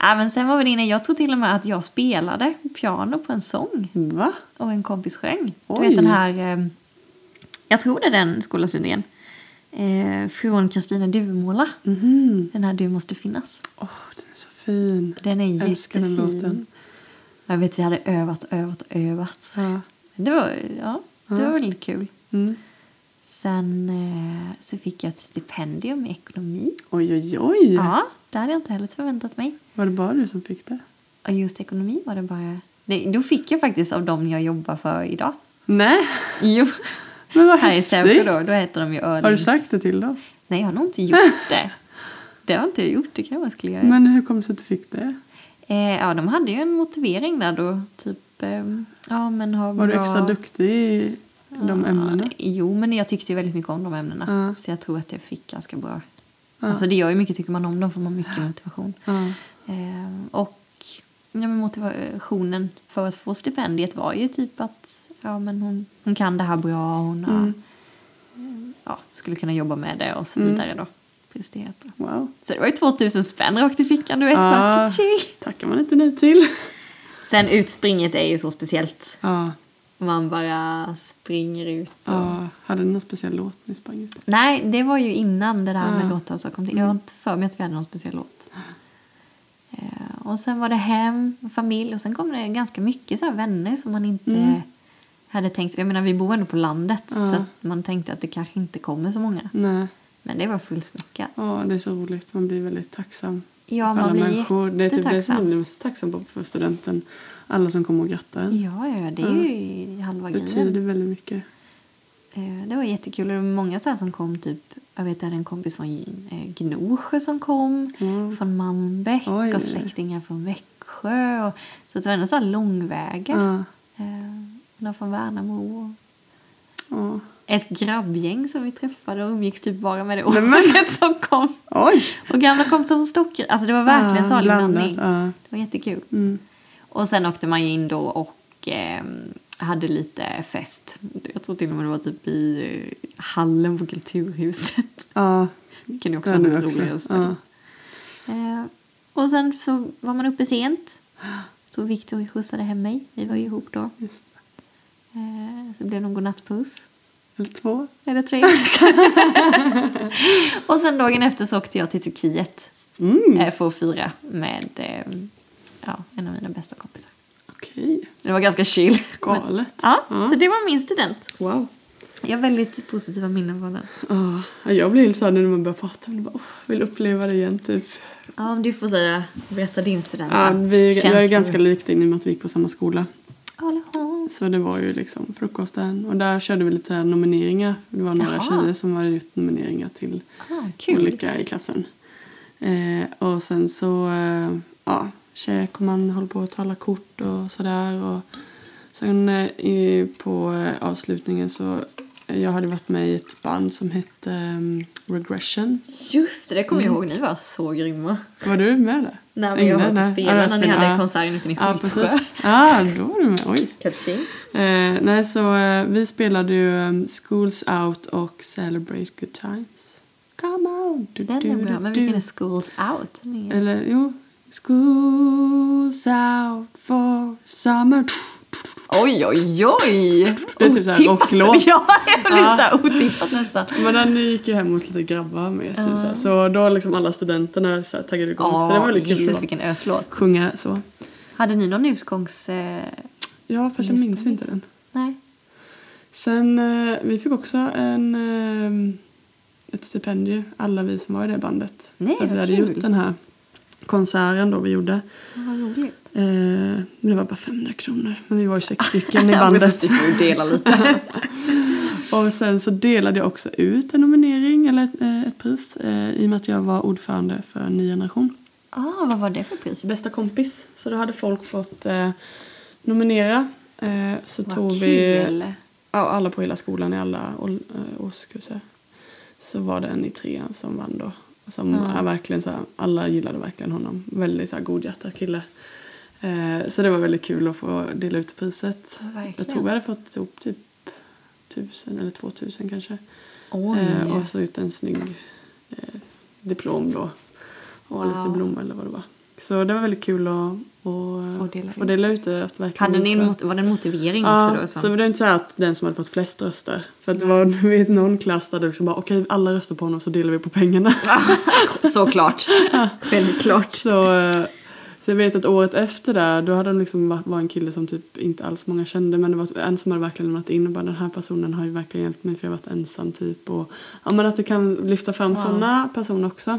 Speaker 1: Ja, men sen var vi inne, jag tror till och med att jag spelade piano på en sång.
Speaker 2: Va?
Speaker 1: Och en kompis sjöng. Du
Speaker 2: Oj.
Speaker 1: vet den här, eh, jag tror det är den skolavslutningen. Eh, från Kristina Duvemåla.
Speaker 2: Mhm.
Speaker 1: Den här Du måste finnas.
Speaker 2: Åh, den är så fin.
Speaker 1: Den är
Speaker 2: Älskar den
Speaker 1: jättefin.
Speaker 2: låten.
Speaker 1: Jag vet, vi hade övat, övat, övat.
Speaker 2: Ja.
Speaker 1: Det var, ja, det var väldigt kul.
Speaker 2: Mm.
Speaker 1: Sen eh, så fick jag ett stipendium i ekonomi.
Speaker 2: Oj, oj, oj.
Speaker 1: Ja, det hade jag inte heller förväntat mig.
Speaker 2: Var det bara du som fick det?
Speaker 1: Och just ekonomi var det bara... Nej, då fick jag faktiskt av dem jag jobbar för idag.
Speaker 2: Nej,
Speaker 1: Jo.
Speaker 2: men vad
Speaker 1: Här i Sävsjö
Speaker 2: häftigt.
Speaker 1: då, då heter de ju Öhlings.
Speaker 2: Har du sagt det till dem?
Speaker 1: Nej, jag har nog inte gjort det. Det har inte jag gjort, det kan man skulle göra.
Speaker 2: Men hur kom det sig att du fick det?
Speaker 1: Eh, ja, de hade ju en motivering där då, typ... Eh, ja, men ha
Speaker 2: Var du
Speaker 1: bra-
Speaker 2: extra duktig i de ämnena?
Speaker 1: Jo, men jag tyckte ju väldigt mycket om de ämnena.
Speaker 2: Ja.
Speaker 1: Så jag tror att jag fick ganska bra...
Speaker 2: Ja.
Speaker 1: Alltså det gör ju mycket, tycker man om dem får man mycket motivation.
Speaker 2: Ja.
Speaker 1: Eh, och ja, men motivationen för att få stipendiet var ju typ att ja, men hon, hon kan det här bra, hon har,
Speaker 2: Mm.
Speaker 1: ja, skulle kunna jobba med det och så
Speaker 2: Mm.
Speaker 1: vidare då. Presterat bra.
Speaker 2: Wow.
Speaker 1: Så det var ju 2000 spänn rakt i fickan, du vet.
Speaker 2: Ja.
Speaker 1: vackert tjej.
Speaker 2: Tackar man inte nej till.
Speaker 1: Sen utspringet är ju så speciellt.
Speaker 2: Ja.
Speaker 1: Man bara springer ut. Och...
Speaker 2: ja. Hade ni någon speciell låt ni sprang ut?
Speaker 1: Nej, det var ju innan det där med
Speaker 2: Ja.
Speaker 1: låtar och så kom till. Jag har inte för mig att vi hade någon speciell låt. Eh, och sen var det hem, familj och sen kom det ganska mycket så här vänner som man inte hade tänkt. Jag menar, vi bor ändå på landet så att man tänkte att det kanske inte kommer så många.
Speaker 2: Nej.
Speaker 1: Men det var fullsmockat.
Speaker 2: Ja, det är så roligt. Man blir väldigt tacksam.
Speaker 1: Ja,
Speaker 2: för
Speaker 1: man blir
Speaker 2: Det är typ det som
Speaker 1: jättetacksam.
Speaker 2: man blir mest tacksam på för studenten. Alla som kommer och grattar en.
Speaker 1: Ja, ja, det är ju halva
Speaker 2: Mm. Det
Speaker 1: grejen.
Speaker 2: betyder väldigt mycket.
Speaker 1: Eh, Det var jättekul. Och det var många så här som kom. typ Jag vet jag hade en kompis från eh, Gnosjö som kom.
Speaker 2: Mm.
Speaker 1: Från Malmbäck
Speaker 2: Oj, oj, oj.
Speaker 1: och släktingar från Växjö. Och, så att det var ändå så här långväga.
Speaker 2: Ja.
Speaker 1: Eh, Någon från Värnamo. och
Speaker 2: ja.
Speaker 1: Ett grabbgäng som vi träffade och umgicks typ bara med det året som kom.
Speaker 2: Oj!
Speaker 1: Och gamla kompisar från Stockholm. Alltså det var verkligen
Speaker 2: Ja,
Speaker 1: salig
Speaker 2: blandat,
Speaker 1: blandning.
Speaker 2: Ja.
Speaker 1: Det var jättekul.
Speaker 2: Mm.
Speaker 1: Och sen åkte man ju in då och eh, hade lite fest. Jag tror till och med det var typ i eh, hallen på Kulturhuset.
Speaker 2: Ja.
Speaker 1: Det kan ju också
Speaker 2: Ja,
Speaker 1: vara
Speaker 2: nu
Speaker 1: något
Speaker 2: också.
Speaker 1: roligare ställe. Eh, och sen så var man uppe sent. Så Victor skjutsade hem mig. Vi var ju ihop då.
Speaker 2: Just det.
Speaker 1: Eh, så blev det någon godnattpuss.
Speaker 2: Eller två.
Speaker 1: Eller tre. och sen dagen efter så åkte jag till Turkiet.
Speaker 2: Mm.
Speaker 1: Eh, för att fira med eh, ja, en av mina bästa kompisar.
Speaker 2: Okej.
Speaker 1: Det var ganska chill.
Speaker 2: Galet.
Speaker 1: Ja, så det var min student.
Speaker 2: Wow.
Speaker 1: Jag har väldigt positiva minnen från den.
Speaker 2: Ja, jag blir helt såhär nu när man börjar prata. Jag bara, åh, jag vill uppleva det igen typ.
Speaker 1: Ja, om du får säga, berätta din student.
Speaker 2: Ja, vi,
Speaker 1: Känns
Speaker 2: jag är
Speaker 1: det-
Speaker 2: ganska lik dig i och med att vi gick på samma skola.
Speaker 1: Alla har-
Speaker 2: Så det var ju liksom frukosten och där körde vi lite nomineringar. Det var några
Speaker 1: Jaha.
Speaker 2: tjejer som hade gjort nomineringar till
Speaker 1: Ah, kul.
Speaker 2: olika i klassen. Eh, och sen så, eh, ja, käk och man håller på att tala kort och sådär. Och sen eh, i, på eh, avslutningen så, eh, jag hade varit med i ett band som hette eh, Regression.
Speaker 1: Just det, det kommer jag ihåg. Ni var så grymma.
Speaker 2: Var du med där?
Speaker 1: Nej, men jag var
Speaker 2: Inne?
Speaker 1: inte
Speaker 2: Nej.
Speaker 1: spelare
Speaker 2: Mm. Ja, där
Speaker 1: när ni
Speaker 2: spelade-
Speaker 1: hade
Speaker 2: ja.
Speaker 1: konserten ute i
Speaker 2: Ja,
Speaker 1: Hultsjö.
Speaker 2: precis. Ja, då var du med. Oj.
Speaker 1: Catching.
Speaker 2: Eh, nej, så eh, vi spelade ju eh, Schools Out och Celebrate Good Times. Come on! Du,
Speaker 1: Den
Speaker 2: du,
Speaker 1: är bra,
Speaker 2: du,
Speaker 1: men
Speaker 2: du. Mm.
Speaker 1: vilken är Schools Out? Den är-
Speaker 2: Eller jo. Schools out for summer.
Speaker 1: Oj, oj, oj!
Speaker 2: Det är typ så här
Speaker 1: Otippat.
Speaker 2: rocklåt.
Speaker 1: Ja, det blir så här otippat nästan.
Speaker 2: Men den gick ju hem hos lite grabbar med. Så, så, här. så då liksom alla studenterna så här, taggade igång. så det var
Speaker 1: Ja,
Speaker 2: väldigt kul
Speaker 1: Jesus
Speaker 2: att
Speaker 1: vilken öslåt.
Speaker 2: sjunga så.
Speaker 1: Hade ni någon utgångs... Eh...
Speaker 2: Ja, fast jag
Speaker 1: Just
Speaker 2: minns
Speaker 1: på mitt.
Speaker 2: inte den.
Speaker 1: Nej.
Speaker 2: Sen, eh, vi fick också en, eh, ett stipendium, alla vi som var i det bandet.
Speaker 1: Nej,
Speaker 2: för att vi
Speaker 1: vad
Speaker 2: hade
Speaker 1: kul.
Speaker 2: gjort den här konserten då vi gjorde.
Speaker 1: Vad roligt.
Speaker 2: Eh, men det var bara 500 kronor. Men vi var ju sex stycken i
Speaker 1: Ja, men
Speaker 2: bandet.
Speaker 1: fast Vi får ju dela lite.
Speaker 2: Och sen så delade jag också ut en nominering, eller ett, eh, ett pris, eh, i och med att jag var ordförande för Ny Generation.
Speaker 1: ah, vad var det för pris?
Speaker 2: bästa kompis. Så då hade folk fått eh, nominera. Eh, så
Speaker 1: Vad
Speaker 2: tog
Speaker 1: kul.
Speaker 2: vi ja, alla på hela skolan i alla ål- eh, årskurser. Så var det en i trean som vann då. Som är verkligen så här, alla gillade verkligen honom. Väldigt så här, godhjärtad kille. Eh, så det var väldigt kul att få dela ut priset.
Speaker 1: Verkligen.
Speaker 2: Jag tror vi hade fått ihop typ tusen eller två tusen kanske.
Speaker 1: Oj.
Speaker 2: Eh, och så ut en snygg eh, diplom då. Och lite
Speaker 1: Wow.
Speaker 2: blommor eller vad det var. Så det var väldigt kul att, att
Speaker 1: Få dela
Speaker 2: få dela ut det. Att verkligen
Speaker 1: Hade ni en,
Speaker 2: visa.
Speaker 1: mot- var det en motivering också
Speaker 2: Ja,
Speaker 1: då? som-
Speaker 2: så det var inte så här att den som hade fått flest röster. För att det var vid någon klass där det liksom bara okej alla röstar på honom så delar vi på pengarna.
Speaker 1: Såklart. Väldigt klart.
Speaker 2: så, eh, Så jag vet att året efter där, då hade de liksom varit, var en kille som typ inte alls många kände men det var en som hade verkligen lämnat in och bara den här personen har ju verkligen hjälpt mig för jag har varit ensam typ och ja men att det kan lyfta fram
Speaker 1: Ja.
Speaker 2: sådana personer också.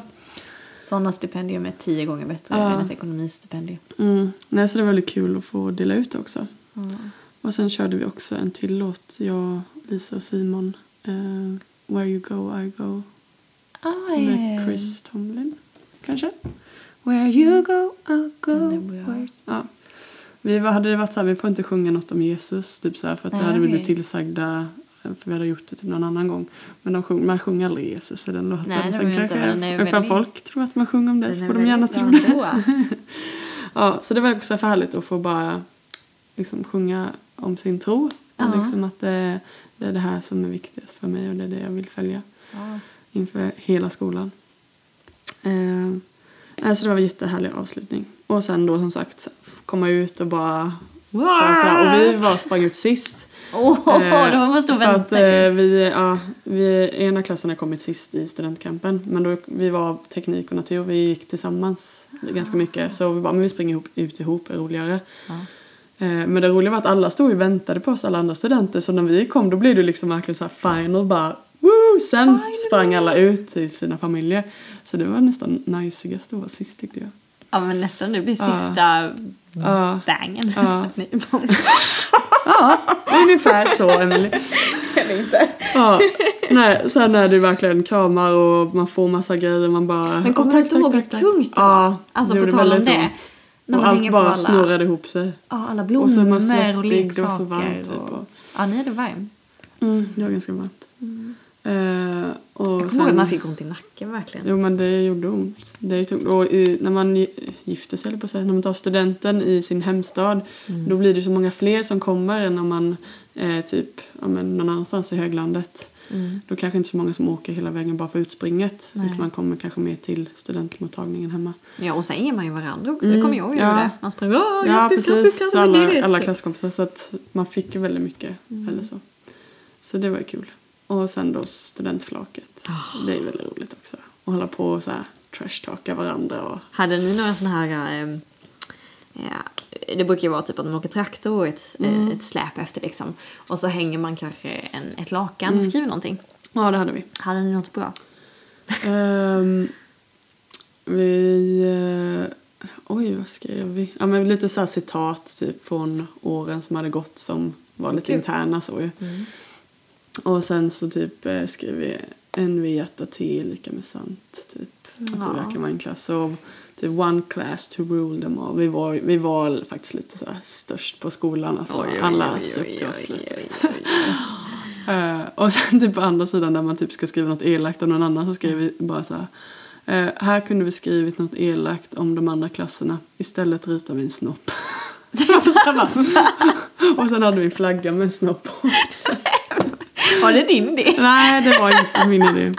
Speaker 1: Sådana stipendium är tio gånger bättre
Speaker 2: Ja.
Speaker 1: än ett ekonomistipendium.
Speaker 2: Mm. Nej så det var väldigt kul att få dela ut det också.
Speaker 1: Ja.
Speaker 2: Och sen körde vi också en till låt, jag, Lisa och Simon. eh, Where you go I go med Chris Tomlin, kanske. Where you go I'll go.
Speaker 1: Mm. Den är bra.
Speaker 2: where- Ja. Vi var, hade det varit så här, vi får inte sjunga något om Jesus, typ så här, för att det
Speaker 1: Nej,
Speaker 2: hade vi blivit
Speaker 1: okej.
Speaker 2: tillsagda för vi hade gjort det typ någon annan gång. Men de sjung, man sjunger aldrig Jesus i den låten.
Speaker 1: Nej, det
Speaker 2: så
Speaker 1: gör vi inte,
Speaker 2: kanske-
Speaker 1: men den är
Speaker 2: ifall
Speaker 1: väldigt-
Speaker 2: folk tror att man sjunger om det
Speaker 1: Den
Speaker 2: så
Speaker 1: är
Speaker 2: får de gärna
Speaker 1: väldigt
Speaker 2: tro
Speaker 1: bra
Speaker 2: det.
Speaker 1: ändå.
Speaker 2: Ja, så det var också för härligt att få bara liksom sjunga om sin tro.
Speaker 1: Ja.
Speaker 2: Och liksom att det, det är det här som är viktigast för mig och det är det jag vill följa
Speaker 1: Ja.
Speaker 2: inför hela skolan. Eh, alltså det var en jättehärlig avslutning. Och sen då som sagt komma ut och bara prata. Och vi var, sprang ut sist.
Speaker 1: Åh,
Speaker 2: Eh,
Speaker 1: då måste man
Speaker 2: för att
Speaker 1: vänta.
Speaker 2: eh, vi, ja, vi, ena klassen har kommit sist i studentkampen men då, vi var teknik och natur, vi gick tillsammans ganska mycket så vi bara, men vi springer ihop, ut ihop, är roligare.
Speaker 1: Ah. Ja.
Speaker 2: Eh, Men det roliga var att alla stod och väntade på oss, alla andra studenter, så när vi kom då blev det liksom verkligen så här final bara Woo! Sen sprang alla ut till sina familjer. Så det var nästan najsigast att vara sist tyckte jag.
Speaker 1: ja, men nästan nu blir
Speaker 2: Ja.
Speaker 1: sista
Speaker 2: Ja,
Speaker 1: bangen.
Speaker 2: Ja.
Speaker 1: Ja.
Speaker 2: ungefär så Emelie.
Speaker 1: Eller inte.
Speaker 2: Ja, nej, sen är det verkligen kramar och man får massa grejer. Man bara,
Speaker 1: Men kommer
Speaker 2: "Åh,
Speaker 1: du
Speaker 2: tack,
Speaker 1: inte ihåg
Speaker 2: tack,
Speaker 1: hur
Speaker 2: tack, tack."
Speaker 1: tungt det var?
Speaker 2: ja,
Speaker 1: Alltså,
Speaker 2: det
Speaker 1: på
Speaker 2: gjorde
Speaker 1: tal om
Speaker 2: väldigt
Speaker 1: det.
Speaker 2: ont.
Speaker 1: När man
Speaker 2: och allt
Speaker 1: hänger på
Speaker 2: bara
Speaker 1: alla-
Speaker 2: snurrade ihop sig.
Speaker 1: Ja, alla
Speaker 2: Och så är man
Speaker 1: blommor och
Speaker 2: svettig, det
Speaker 1: leksaker.
Speaker 2: var så varmt, typ,
Speaker 1: och...
Speaker 2: och-
Speaker 1: Ja, ni hade varm.
Speaker 2: Det var ganska varmt. Eh, och
Speaker 1: Mm. Jag kommer
Speaker 2: sen,
Speaker 1: ihåg att man fick ont i nacken verkligen.
Speaker 2: Jo men det gjorde ont. Det är ju tungt. Och i, när man gi- gifter sig eller på sig, när man tar studenten i sin hemstad
Speaker 1: Mm.
Speaker 2: då blir det så många fler som kommer än om man eh, typ ja, men någon annanstans i höglandet.
Speaker 1: Mm.
Speaker 2: Då kanske inte så många som åker hela vägen bara för utspringet.
Speaker 1: Nej.
Speaker 2: Utan man kommer kanske mer till studentmottagningen hemma.
Speaker 1: Ja, och sen ger man ju varandra också. Det
Speaker 2: Mm,
Speaker 1: kommer jag ihåg.
Speaker 2: ja.
Speaker 1: Ja. Man sprang åh,
Speaker 2: ja
Speaker 1: grattis, grattis,
Speaker 2: precis.
Speaker 1: grattis.
Speaker 2: Så alla,
Speaker 1: grattis."
Speaker 2: alla klasskompisar. Så att man fick ju väldigt mycket.
Speaker 1: Mm.
Speaker 2: Eller så. så det var ju kul. Och sen då studentflaket.
Speaker 1: Ah.
Speaker 2: Det är ju väldigt roligt också. Och hålla på och så här trashtalka varandra. Och,
Speaker 1: Hade ni några sådana här... ehm, Ja, det brukar ju vara typ att man åker traktor och ett, eh,
Speaker 2: Mm.
Speaker 1: ett släp efter liksom. Och så hänger man kanske en, ett lakan
Speaker 2: Mm.
Speaker 1: och skriver någonting.
Speaker 2: ja det hade vi.
Speaker 1: Hade ni något bra?
Speaker 2: Ehm, vi... eh, oj, vad skrev vi? Ja, men lite så här citat typ, från åren som hade gått som var lite
Speaker 1: Kul.
Speaker 2: interna. Så, ju. Och sen så typ eh, skrev vi en vid hjärta T är lika med sant. Typ. Att vi
Speaker 1: Ja.
Speaker 2: verkar vara en klass. Och typ one class to rule them all. Vi var, vi var faktiskt lite så här störst på skolan. Alltså, alla sökte oss lite. Eh, och sen typ på andra sidan där man typ ska skriva något elakt om någon annan så skriver vi bara så här. eh, här kunde vi skrivit något elakt om de andra klasserna. Istället ritar vi en snopp. och, sen bara- och sen hade vi en flagga med en snopp på.
Speaker 1: Var det din idé?
Speaker 2: Nej, det var inte min idé.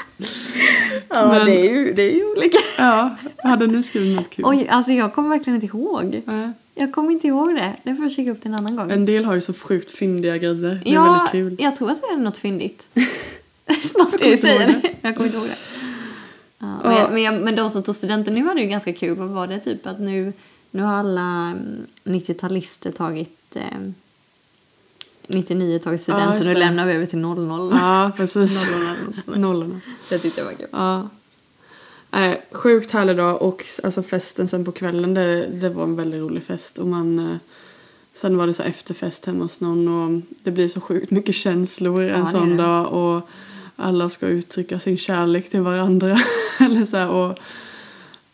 Speaker 1: Ja,
Speaker 2: Men-
Speaker 1: det, är ju, det är ju olika.
Speaker 2: Ja, hade ni skrivit något kul?
Speaker 1: Oj, alltså jag kommer verkligen inte ihåg.
Speaker 2: Nej.
Speaker 1: Jag kommer inte ihåg det. Det får jag kika upp till en annan gång.
Speaker 2: En del har ju så sjukt fyndiga grejer. Det är
Speaker 1: ja,
Speaker 2: väldigt kul.
Speaker 1: jag tror att vi hade något fyndigt. Måste jag
Speaker 2: kommer
Speaker 1: ju
Speaker 2: inte ihåg
Speaker 1: säga
Speaker 2: det.
Speaker 1: det. Jag kommer inte ihåg det. Ja,
Speaker 2: Ja.
Speaker 1: men, jag, men, jag, men de som tog studenten nu hade ju ganska kul. Vad var det typ att nu, nu har alla mm, 90-talister tagit... Eh, 99 tagit
Speaker 2: Ja,
Speaker 1: studenten
Speaker 2: just
Speaker 1: och
Speaker 2: det.
Speaker 1: lämnar vi över till 00.
Speaker 2: Ja, precis.
Speaker 1: Nollorna, nollorna.
Speaker 2: Nollorna.
Speaker 1: Det tyckte jag var kul.
Speaker 2: Ja. Nej, sjukt härlig dag och alltså festen sen på kvällen det, det var en väldigt rolig fest och man eh, Sen var det så här efterfest hemma hos någon och det blir så sjukt mycket känslor en
Speaker 1: det är
Speaker 2: sån
Speaker 1: det.
Speaker 2: dag och alla ska uttrycka sin kärlek till varandra. eller så här, och,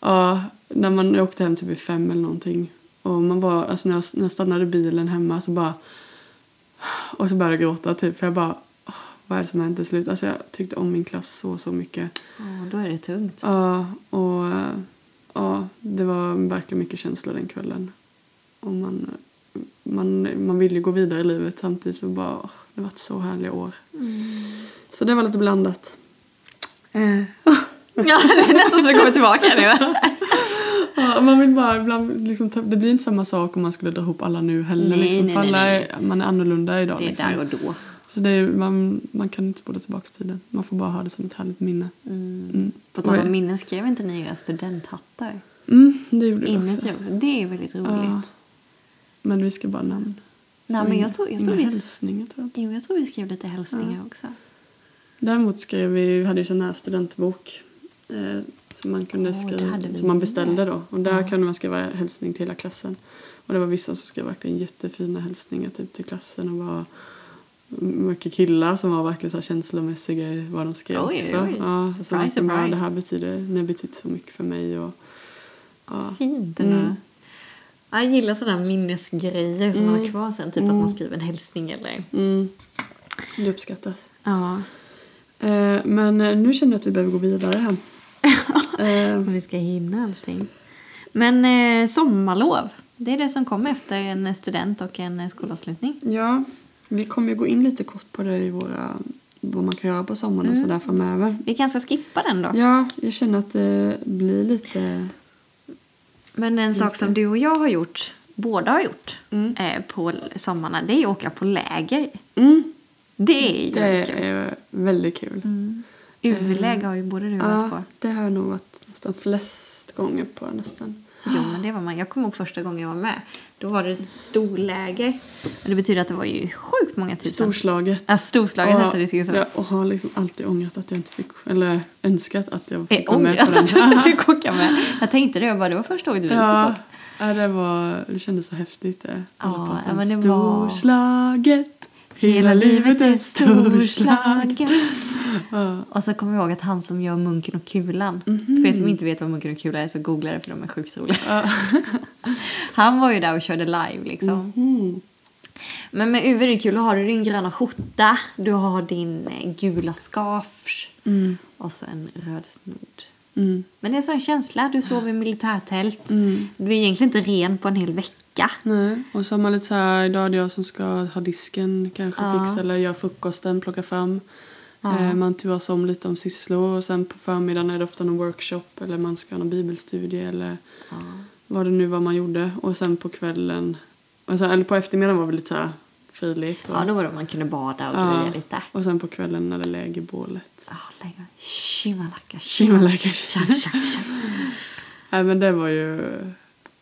Speaker 2: ja, när man åkte hem typ vid fem eller någonting och man bara, alltså när jag, när jag stannade bilen hemma så bara och så började jag gråta typ för jag bara "Åh, vad är det som har hänt till slut? Alltså jag tyckte om min klass så så mycket.
Speaker 1: Ja, då är det tungt.
Speaker 2: Ja, och eh, ja, det var verkligen mycket känslor den kvällen. Och man, man, man vill ju gå vidare i livet samtidigt så bara, åh, det har varit så härliga år.
Speaker 1: Mm.
Speaker 2: Så det var lite blandat. Eh,
Speaker 1: Ja, det är nästan så det kommer tillbaka nu.
Speaker 2: ja, man vill bara ibland, liksom, ta- det blir inte samma sak om man skulle dra ihop alla nu heller.
Speaker 1: Nej,
Speaker 2: liksom,
Speaker 1: nej,
Speaker 2: för
Speaker 1: nej,
Speaker 2: alla
Speaker 1: nej.
Speaker 2: Är, man är annorlunda idag.
Speaker 1: Det är
Speaker 2: liksom.
Speaker 1: där och då.
Speaker 2: Så det är, man, man kan inte spola tillbaka tiden. Man får bara ha det som ett härligt minne. Mm.
Speaker 1: På tal
Speaker 2: Oj.
Speaker 1: om minnen, skrev inte ni era studenthattar?
Speaker 2: Mm, det gjorde vi också.
Speaker 1: Inuti också. Det är väldigt roligt.
Speaker 2: Ja. Men vi ska bara namn.
Speaker 1: Nej,
Speaker 2: Så
Speaker 1: men
Speaker 2: inga-
Speaker 1: jag tror- jag
Speaker 2: inga
Speaker 1: tror vi-
Speaker 2: hälsningar tror jag. inte.
Speaker 1: Jo, jag tror vi skrev lite hälsningar också.
Speaker 2: Däremot skrev vi, hade ju sån här studentbok eh, som man kunde
Speaker 1: Åh, det
Speaker 2: skriva,
Speaker 1: hade vi
Speaker 2: som man
Speaker 1: med.
Speaker 2: beställde då. Och där kunde man skriva hälsning till hela klassen. Och det var vissa som skrev verkligen jättefina hälsningar typ till klassen och var mycket killar som var verkligen så här känslomässiga i vad de skrev
Speaker 1: Oj,
Speaker 2: också.
Speaker 1: oj.
Speaker 2: Ja,
Speaker 1: Surprise,
Speaker 2: så verkligen bara,
Speaker 1: surprise.
Speaker 2: det här betyder, det har betytt så mycket för mig och ja.
Speaker 1: Fint ändå.
Speaker 2: Mm.
Speaker 1: Ja, Jag gillar sådana minnesgrejer som man har kvar sen. Typ att man skriver en hälsning eller...
Speaker 2: Mm. Det uppskattas.
Speaker 1: Ja.
Speaker 2: Eh, men eh, nu känner jag att vi behöver gå vidare här. eh,
Speaker 1: Om vi ska hinna allting. Men eh, sommarlov. Det är det som kommer efter en student och en eh, skolavslutning.
Speaker 2: Ja, vi kommer ju gå in lite kort på det i våra, vad man kan göra på sommaren
Speaker 1: Mm.
Speaker 2: och sådär framöver.
Speaker 1: Vi kanske ska skippa den då.
Speaker 2: Ja, jag känner att det blir lite...
Speaker 1: Men en sak som du och jag har gjort, båda har gjort eh, på sommarna, det är att åka på läger. Mm. Det är ju
Speaker 2: det
Speaker 1: kul.
Speaker 2: är väldigt kul.
Speaker 1: UV-läger har ju både du och jag varit på.
Speaker 2: Mm. Ja, det har jag nog varit nästan flest gånger på nästan.
Speaker 1: Jo, men det var man. Jag kommer ihåg första gången jag var med. Då var det ett storläger. Och det betyder att det var ju sjukt många tusen.
Speaker 2: Storslaget.
Speaker 1: Ja, storslaget hette det till exempel.
Speaker 2: jag, och har liksom alltid ångrat att jag inte fick, eller önskat att jag fick
Speaker 1: Jag
Speaker 2: vara med
Speaker 1: ångrar
Speaker 2: på
Speaker 1: Eh, att
Speaker 2: den.
Speaker 1: jag inte fick åka med. Jag tänkte det, jag bara, det var första gången vi
Speaker 2: Ja,
Speaker 1: fick åka.
Speaker 2: ja det, var, det kändes så häftigt det. Alla
Speaker 1: Ja,
Speaker 2: pratar
Speaker 1: ja,
Speaker 2: om
Speaker 1: men det var-
Speaker 2: storslaget, hela livet är storslaget. Ja. Mhm.
Speaker 1: Och så kommer jag ihåg att han som gör Munken och Kulan, för er som inte vet vad Munken och Kulan är så googla det för de är sjukt roliga. han var ju där och körde live liksom.
Speaker 2: Mhm.
Speaker 1: Men med UV-kulor har du din gröna skjorta, du har din eh, gula scarf och så en röd snodd.
Speaker 2: Mm.
Speaker 1: Men det är en sån känsla, du sover i militärtält, du är egentligen inte ren på en hel vecka.
Speaker 2: Nej. Och så har man lite så här, idag är det jag som ska ha disken kanske
Speaker 1: Ja.
Speaker 2: fixa eller göra frukosten, plocka fram. Eh, man turas om lite om sysslor och sen på förmiddagen är det ofta någon workshop eller man ska ha någon bibelstudie eller vad det nu var man gjorde. Och sen på kvällen, och så, eller på eftermiddagen var det lite så här frilek då.
Speaker 1: Ja, då var det man kunde bada och
Speaker 2: Ja.
Speaker 1: greja lite.
Speaker 2: Och sen på kvällen när det är lägerbålet.
Speaker 1: Ja, lägga. Shimalaka,
Speaker 2: Shimalakas.
Speaker 1: tja, tja, tja.
Speaker 2: Nej men det var ju...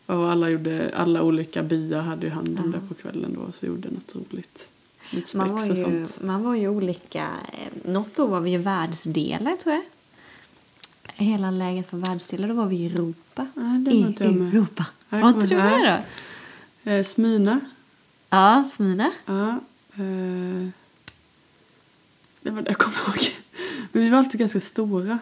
Speaker 2: Och alla, gjorde, alla olika byar hade ju hand om det på kvällen då och så gjorde något roligt. Lite
Speaker 1: Man var,
Speaker 2: spex och
Speaker 1: ju,
Speaker 2: sånt.
Speaker 1: man var ju olika. eh, Något år var vi ju världsdelar, tror jag. Hela läget var världsdelar. Då var vi i Europa.
Speaker 2: Nej, det var
Speaker 1: I
Speaker 2: inte jag med.
Speaker 1: Europa.
Speaker 2: Nej,
Speaker 1: Var
Speaker 2: det
Speaker 1: inte du
Speaker 2: var- nej.
Speaker 1: med då?
Speaker 2: Eh, Smina.
Speaker 1: Ja, Smina.
Speaker 2: Ja. Eh, det var det jag kom ihåg. Men vi var alltid ganska stora.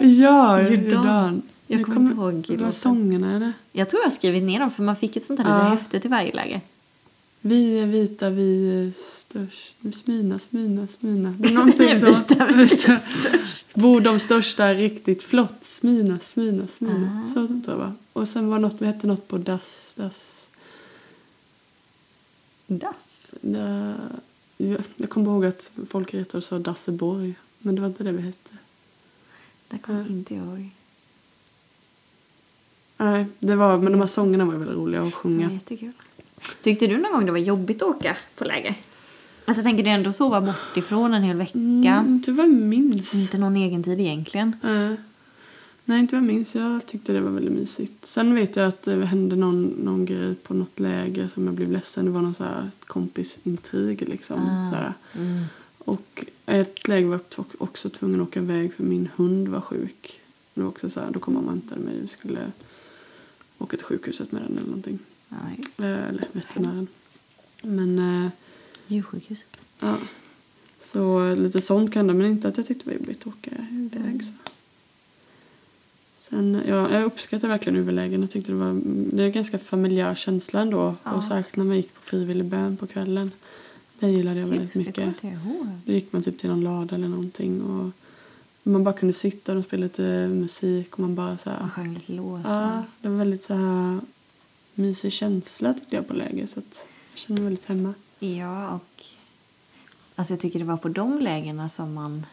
Speaker 2: Ja,
Speaker 1: Jordan.
Speaker 2: Jordan. Jordan.
Speaker 1: Jag
Speaker 2: Nu
Speaker 1: kommer inte ihåg
Speaker 2: Vad
Speaker 1: låten.
Speaker 2: var sångerna är det?
Speaker 1: Jag tror jag har skrivit ner dem, för man fick ett sånt här
Speaker 2: Ja.
Speaker 1: litet häfte till varje läger.
Speaker 2: Vi är vita, vi är störst. Smina, smina, smina. Det är
Speaker 1: Vi
Speaker 2: någonting
Speaker 1: är
Speaker 2: så.
Speaker 1: vita, vi är störst.
Speaker 2: Bor de största riktigt flott. Smina, smina, smina. Så tror jag va? Och sen var något, vi hette något på dass, dass.
Speaker 1: Das.
Speaker 2: Da, jag, jag kommer ihåg att folk retade och sa Dasseborg. Men det var inte det vi hette.
Speaker 1: Där kommer
Speaker 2: Ja.
Speaker 1: inte jag ihåg.
Speaker 2: Nej, det var, men de här sångerna var ju väldigt roliga att
Speaker 1: Det
Speaker 2: sjunga.
Speaker 1: var Mm, jättekul. Tyckte du någon gång det var jobbigt att åka på läger? Alltså jag tänker det är ändå att sova bortifrån en hel vecka.
Speaker 2: Mm, inte vad jag minns.
Speaker 1: Inte någon egen tid egentligen.
Speaker 2: Nej. Nej, inte vad jag minns. Jag tyckte det var väldigt mysigt. Sen vet jag att det hände någon, någon grej på något läger som jag blev ledsen. Det var någon så här kompisintrig liksom. Så här.
Speaker 1: Mm.
Speaker 2: Och ett läger var jag t- också tvungen att åka iväg för min hund var sjuk. Det var också så här, då kom mamma och hämtade mig. Vi skulle åka till sjukhuset med den eller någonting.
Speaker 1: Nice.
Speaker 2: Eh, Eller veterinären. Men eh,
Speaker 1: Djursjukhuset.
Speaker 2: ja. Så lite sånt kan det, men inte att jag tyckte det var jobbigt att åka iväg. Så. Sen, ja, jag uppskattar verkligen överlägen. Jag tyckte det var det är en ganska familjär känsla ändå. Och särskilt när man gick på frivillig bön på kvällen. Det gillade jag väldigt
Speaker 1: Just det, kommer
Speaker 2: mycket.
Speaker 1: inte jag ihåg.
Speaker 2: Då gick man typ till någon lada eller någonting. Och man bara kunde sitta och de spelade lite musik. Och man bara så här,
Speaker 1: Man sjöng lite
Speaker 2: ja,
Speaker 1: låsar.
Speaker 2: det var väldigt så här mysig känsla tyckte jag på läger. Så att jag kände mig väldigt hemma.
Speaker 1: Ja, och... Alltså jag tycker det var på de lägena som man...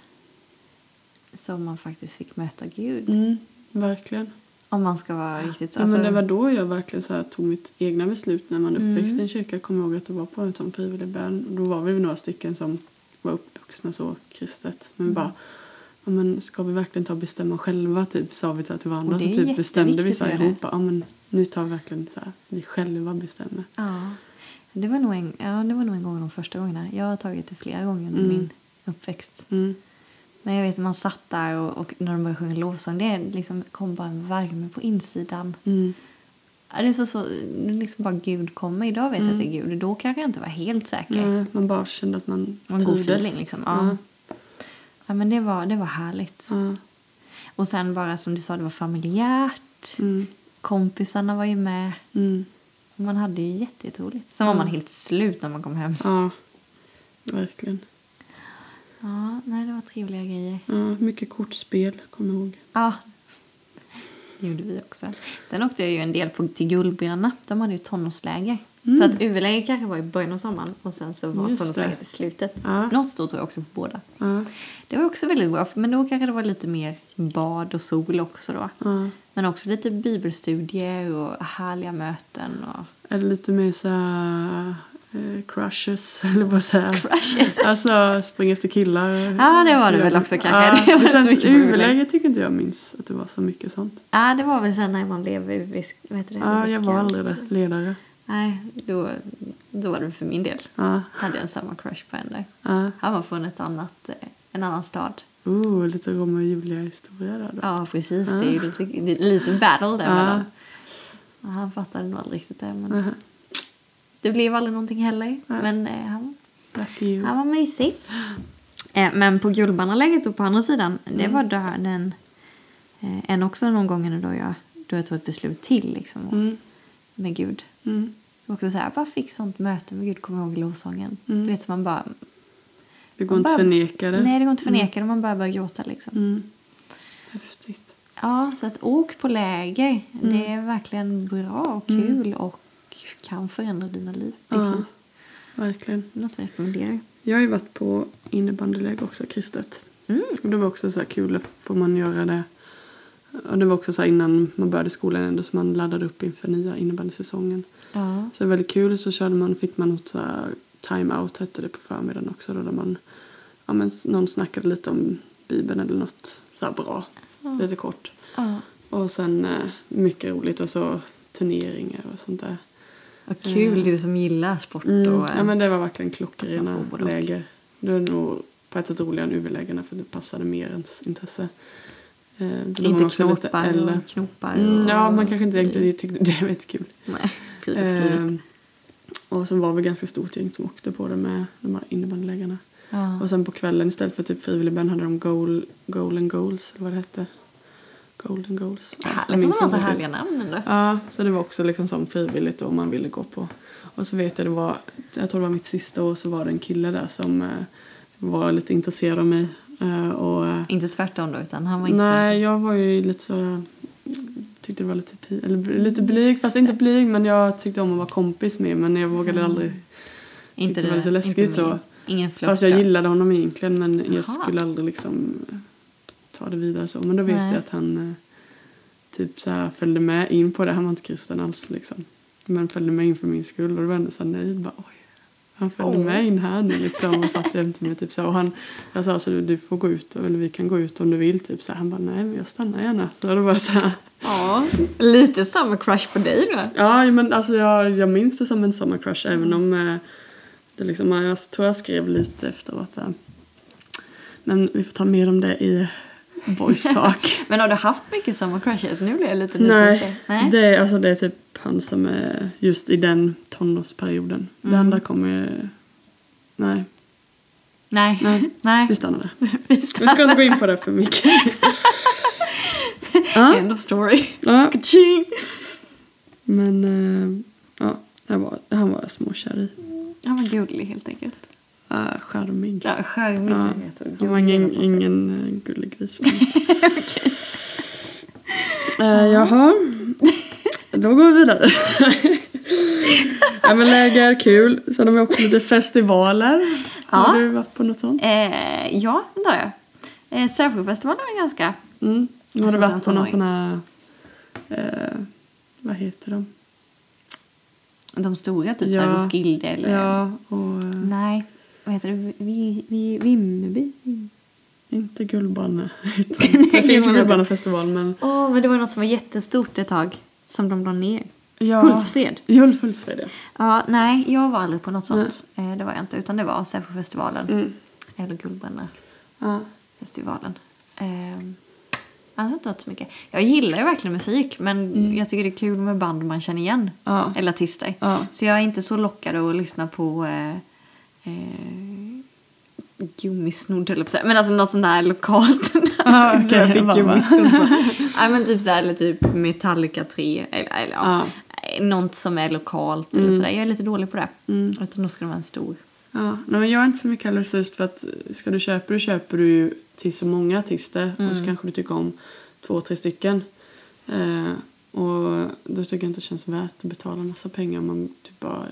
Speaker 1: Som man faktiskt fick möta Gud.
Speaker 2: Mm, verkligen.
Speaker 1: Om man ska vara riktigt... alltså-
Speaker 2: Ja, men det var då jag verkligen så här tog mitt egna beslut när man
Speaker 1: Mm.
Speaker 2: uppväxte i en kyrka. Jag kommer ihåg att det var på en sån
Speaker 1: Mm.
Speaker 2: frivillig bön. Och Då var vi några stycken som var uppvuxna så kristet. Men vi bara, ja, men ska vi verkligen ta och bestämma själva? Typ sa vi till varandra.
Speaker 1: Och det
Speaker 2: Så
Speaker 1: är
Speaker 2: typ bestämde vi
Speaker 1: jätteviktigt
Speaker 2: så
Speaker 1: med
Speaker 2: här
Speaker 1: det.
Speaker 2: ihop. Ja, men nu tar vi verkligen så här, vi själva bestämmer.
Speaker 1: Ja. Det var nog en, ja, det var nog en gång de första gångerna. Jag har tagit det flera gånger under
Speaker 2: Mm.
Speaker 1: min uppväxt.
Speaker 2: Mm.
Speaker 1: Men jag vet att man satt där och, och när de började sjunga lovsång, det liksom kom bara en värme på insidan.
Speaker 2: Mm.
Speaker 1: Ja, Det är så, så det är liksom bara Gud kommer. Idag vet jag att det är Gud. Då kanske jag inte var helt säker.
Speaker 2: Nej, man bara kände att man
Speaker 1: Det var en god
Speaker 2: trivdes.
Speaker 1: feeling liksom. Ja. Ja, men det var, det var härligt.
Speaker 2: Ja.
Speaker 1: Och sen bara som du sa, det var familjärt.
Speaker 2: Mm.
Speaker 1: Kompisarna var ju med.
Speaker 2: Mm.
Speaker 1: Och Man hade ju jätte- jätteroligt. Sen var man helt slut när man kom hem.
Speaker 2: ja, verkligen.
Speaker 1: Ja, nej det var trevliga grejer.
Speaker 2: Ja, mycket kortspel, kommer jag ihåg.
Speaker 1: Ja, det gjorde vi också. Sen åkte jag ju en del på, till Gullbrenna. De hade ju tonårsläger. Så att huvudläger kanske var i början av sommaren och sen så var
Speaker 2: Mm. Just
Speaker 1: tonårslägret
Speaker 2: det.
Speaker 1: i slutet.
Speaker 2: Ja.
Speaker 1: Något år tror jag också på båda.
Speaker 2: Ja.
Speaker 1: Det var också väldigt bra, men då kanske det var lite mer bad och sol också då.
Speaker 2: Ja.
Speaker 1: Men också lite bibelstudier och härliga möten och...
Speaker 2: Eller lite mer så här, eh, crushes, eller vad säger jag?
Speaker 1: Crushes.
Speaker 2: Alltså springa efter killar.
Speaker 1: Ja, det var det väl också kanske. Det var
Speaker 2: Ja, det
Speaker 1: inte så
Speaker 2: känns,
Speaker 1: mycket problem.
Speaker 2: huvudläge tycker inte jag minns att det var så mycket sånt.
Speaker 1: Ja, det var väl sen när man blev UV... Vad heter det?
Speaker 2: Ja, jag
Speaker 1: UV-scout.
Speaker 2: var aldrig där, ledare.
Speaker 1: Nej, då, då var det för min del.
Speaker 2: Ja,
Speaker 1: Hade en samma crush på henne.
Speaker 2: ja.
Speaker 1: Han var från ett annat, eh, en annan stad.
Speaker 2: Oh, lite Romeo och Julia-historia där då.
Speaker 1: Ja, precis. Det är ju lite, det är lite battle där
Speaker 2: Ja.
Speaker 1: mellan. Ja, Han fattade nog aldrig riktigt det. Men
Speaker 2: Aha.
Speaker 1: det blev aldrig någonting heller. Men eh, han
Speaker 2: Lucky you.
Speaker 1: Han var mysig. Eh, Men på Gullbannaläget och på andra sidan,
Speaker 2: Mm.
Speaker 1: det var då den, eh, en också någon gång då jag, då jag tog ett beslut till liksom, och-
Speaker 2: Mm.
Speaker 1: med Gud.
Speaker 2: Mm.
Speaker 1: Och också så här, jag bara fick sånt möte med Gud, kommer jag ihåg i lovsången.
Speaker 2: Mm.
Speaker 1: Du vet, så man bara,
Speaker 2: Det går
Speaker 1: man
Speaker 2: inte
Speaker 1: bara-
Speaker 2: att förneka det.
Speaker 1: Nej, det går inte att förneka det, man bara börjar gråta liksom.
Speaker 2: Mm. Häftigt.
Speaker 1: Ja, så att åk på läger,
Speaker 2: Mm.
Speaker 1: det är verkligen bra och kul och kan förändra dina liv. ditt
Speaker 2: Ja,
Speaker 1: liv.
Speaker 2: verkligen.
Speaker 1: Något jag rekommenderar.
Speaker 2: Jag har ju varit på innebandyläger också, kristet. Och det var också så här kul, får man göra det? Och det var också så här innan man började skolan ändå så man laddade upp inför nya innebandysäsongen.
Speaker 1: Ja.
Speaker 2: Så det var väldigt kul så körde man, fick man något så här time-out hette det på förmiddagen också då där man, ja men s- någon snackade lite om Bibeln eller något så här bra, lite kort.
Speaker 1: ja.
Speaker 2: Och sen eh, mycket roligt och så turneringar och sånt där.
Speaker 1: Vad kul, du som gillar sport och...
Speaker 2: Ja,
Speaker 1: eh,
Speaker 2: men det var verkligen
Speaker 1: Man
Speaker 2: klockrena
Speaker 1: får både och.
Speaker 2: läger. Det var nog på ett sätt roligare än UV-lägena för det passade mer ens intresse. Eh, då var man
Speaker 1: Inte
Speaker 2: också lite
Speaker 1: knåpar
Speaker 2: äldre.
Speaker 1: och knopar.
Speaker 2: Mm,
Speaker 1: och...
Speaker 2: ja, man kanske inte egentligen tyckte det var jättekul.
Speaker 1: Nej, friluftslivet.
Speaker 2: Eh, och så var vi ganska stort gäng som åkte på det med de här innebandylägarna.
Speaker 1: Ja.
Speaker 2: Och sen på kvällen istället för typ frivilligbön hade de goal, goal and goals eller vad det hette. Golden goals. Ja, jag
Speaker 1: Härligt
Speaker 2: minns
Speaker 1: att de har
Speaker 2: inte
Speaker 1: så
Speaker 2: riktigt.
Speaker 1: härliga namn ändå.
Speaker 2: Ja, så det var också liksom som frivilligt då, om man ville gå på. Och så vet jag, det var, jag tror det var mitt sista år så var det en kille där som eh, var lite intresserad av mig. Eh, och, eh,
Speaker 1: Inte tvärtom då, utan han var inte
Speaker 2: nej, jag var ju lite så tyckte det var lite, pi- eller, lite blyg, fast inte blyg men jag tyckte om att vara kompis med men jag vågade aldrig.
Speaker 1: så... Inte
Speaker 2: det var lite läskigt
Speaker 1: inte
Speaker 2: så.
Speaker 1: Ingen flört
Speaker 2: Fast jag
Speaker 1: då.
Speaker 2: gillade honom egentligen men jag
Speaker 1: Jaha.
Speaker 2: skulle aldrig liksom eh, ta det vidare så. Men då vet
Speaker 1: Nej.
Speaker 2: jag att han eh, typ så här följde med in på det. Han var inte kristen alls liksom. Men följde med in för min skull och då var jag ändå så här nöjd. Bara, Oj. Han följde
Speaker 1: Åh.
Speaker 2: med in här nu liksom och satt jämte mig. Typ så här. Och han, jag sa så du, du får gå ut, eller vi kan gå ut om du vill. Typ så här. Han bara nej men jag stannar gärna. Så då var jag så här.
Speaker 1: Ja, lite samma crush på dig då.
Speaker 2: Ja, men alltså jag, jag minns det som en sommarcrush även om eh, det liksom, jag tror jag skrev lite efteråt där. Men vi får ta mer om det i voice talk.
Speaker 1: Men har du haft mycket samma crushes? Nu blir jag lite nyfiken.
Speaker 2: Nej,
Speaker 1: Nej.
Speaker 2: Det, är, alltså, det är typ han som är just i den tonårsperioden. Det andra kommer... Nej,
Speaker 1: Nej.
Speaker 2: Nej.
Speaker 1: Nej.
Speaker 2: vi stannar där.
Speaker 1: Vi
Speaker 2: Vi ska
Speaker 1: ska...
Speaker 2: inte gå in på det för mycket. ja,
Speaker 1: End of story.
Speaker 2: ja,
Speaker 1: Tjing!
Speaker 2: men eh, ja, han var, han var småkär i.
Speaker 1: Han var gullig helt enkelt.
Speaker 2: Uh, charmig.
Speaker 1: Ja, charmig
Speaker 2: Ja.
Speaker 1: kan jag heta.
Speaker 2: Han var ingen,
Speaker 1: alltså.
Speaker 2: ingen eh, gullig gris. Eh, jaha. Då går vi vidare. ja, men läger, är kul. Sen har vi också lite festivaler. Har
Speaker 1: Ja.
Speaker 2: du varit på något sånt?
Speaker 1: Eh, ja, det har jag. Eh, Sävsjöfestivalen var ganska...
Speaker 2: Mm. Har du
Speaker 1: Så
Speaker 2: varit på några
Speaker 1: tonåring.
Speaker 2: såna... Eh, vad heter de?
Speaker 1: De stora, typ
Speaker 2: Ja.
Speaker 1: ja. Roskilde eller...
Speaker 2: Ja, och... eh,
Speaker 1: Nej, vad heter det? Vi, vi, Vimmerby?
Speaker 2: Inte Guldbanne. Utan, det finns ju Guldbannefestival men...
Speaker 1: Åh, men det var något som var jättestort ett tag. Som de la ner.
Speaker 2: Ja,
Speaker 1: Hultsfred.
Speaker 2: Jul- Hultsfred ja.
Speaker 1: Ja, nej, Mm. jag var aldrig på något sånt. Eh, Det var jag inte. Utan det var Sävsjöfestivalen. Eller Guldbrännarfestivalen.
Speaker 2: ja.
Speaker 1: Eh, annars har jag inte varit så mycket. Jag gillar ju verkligen musik. Men jag tycker det är kul med band man känner igen.
Speaker 2: Mm. Ja.
Speaker 1: Eller artister.
Speaker 2: Ja.
Speaker 1: Så jag är inte så lockad att lyssna på eh, eh, gummisnodd eller på så här. Men alltså något sånt där lokalt.
Speaker 2: Ah,
Speaker 1: Där
Speaker 2: okej,
Speaker 1: jag fick
Speaker 2: vad bra.
Speaker 1: gummisnodd på. Nej men typ så här, eller typ Metallica 3. Eller, eller ja. Eh,
Speaker 2: Ja. Mm.
Speaker 1: Något som är lokalt eller sådär. Jag är lite dålig på det. Utan då ska det vara en stor.
Speaker 2: Ja, nej, men jag är inte så mycket heller så just för att ska du köpa du köper du ju till så många artister och så kanske du tycker om två, tre stycken. Eh, och då tycker jag inte det känns värt att betala en massa pengar om man typ bara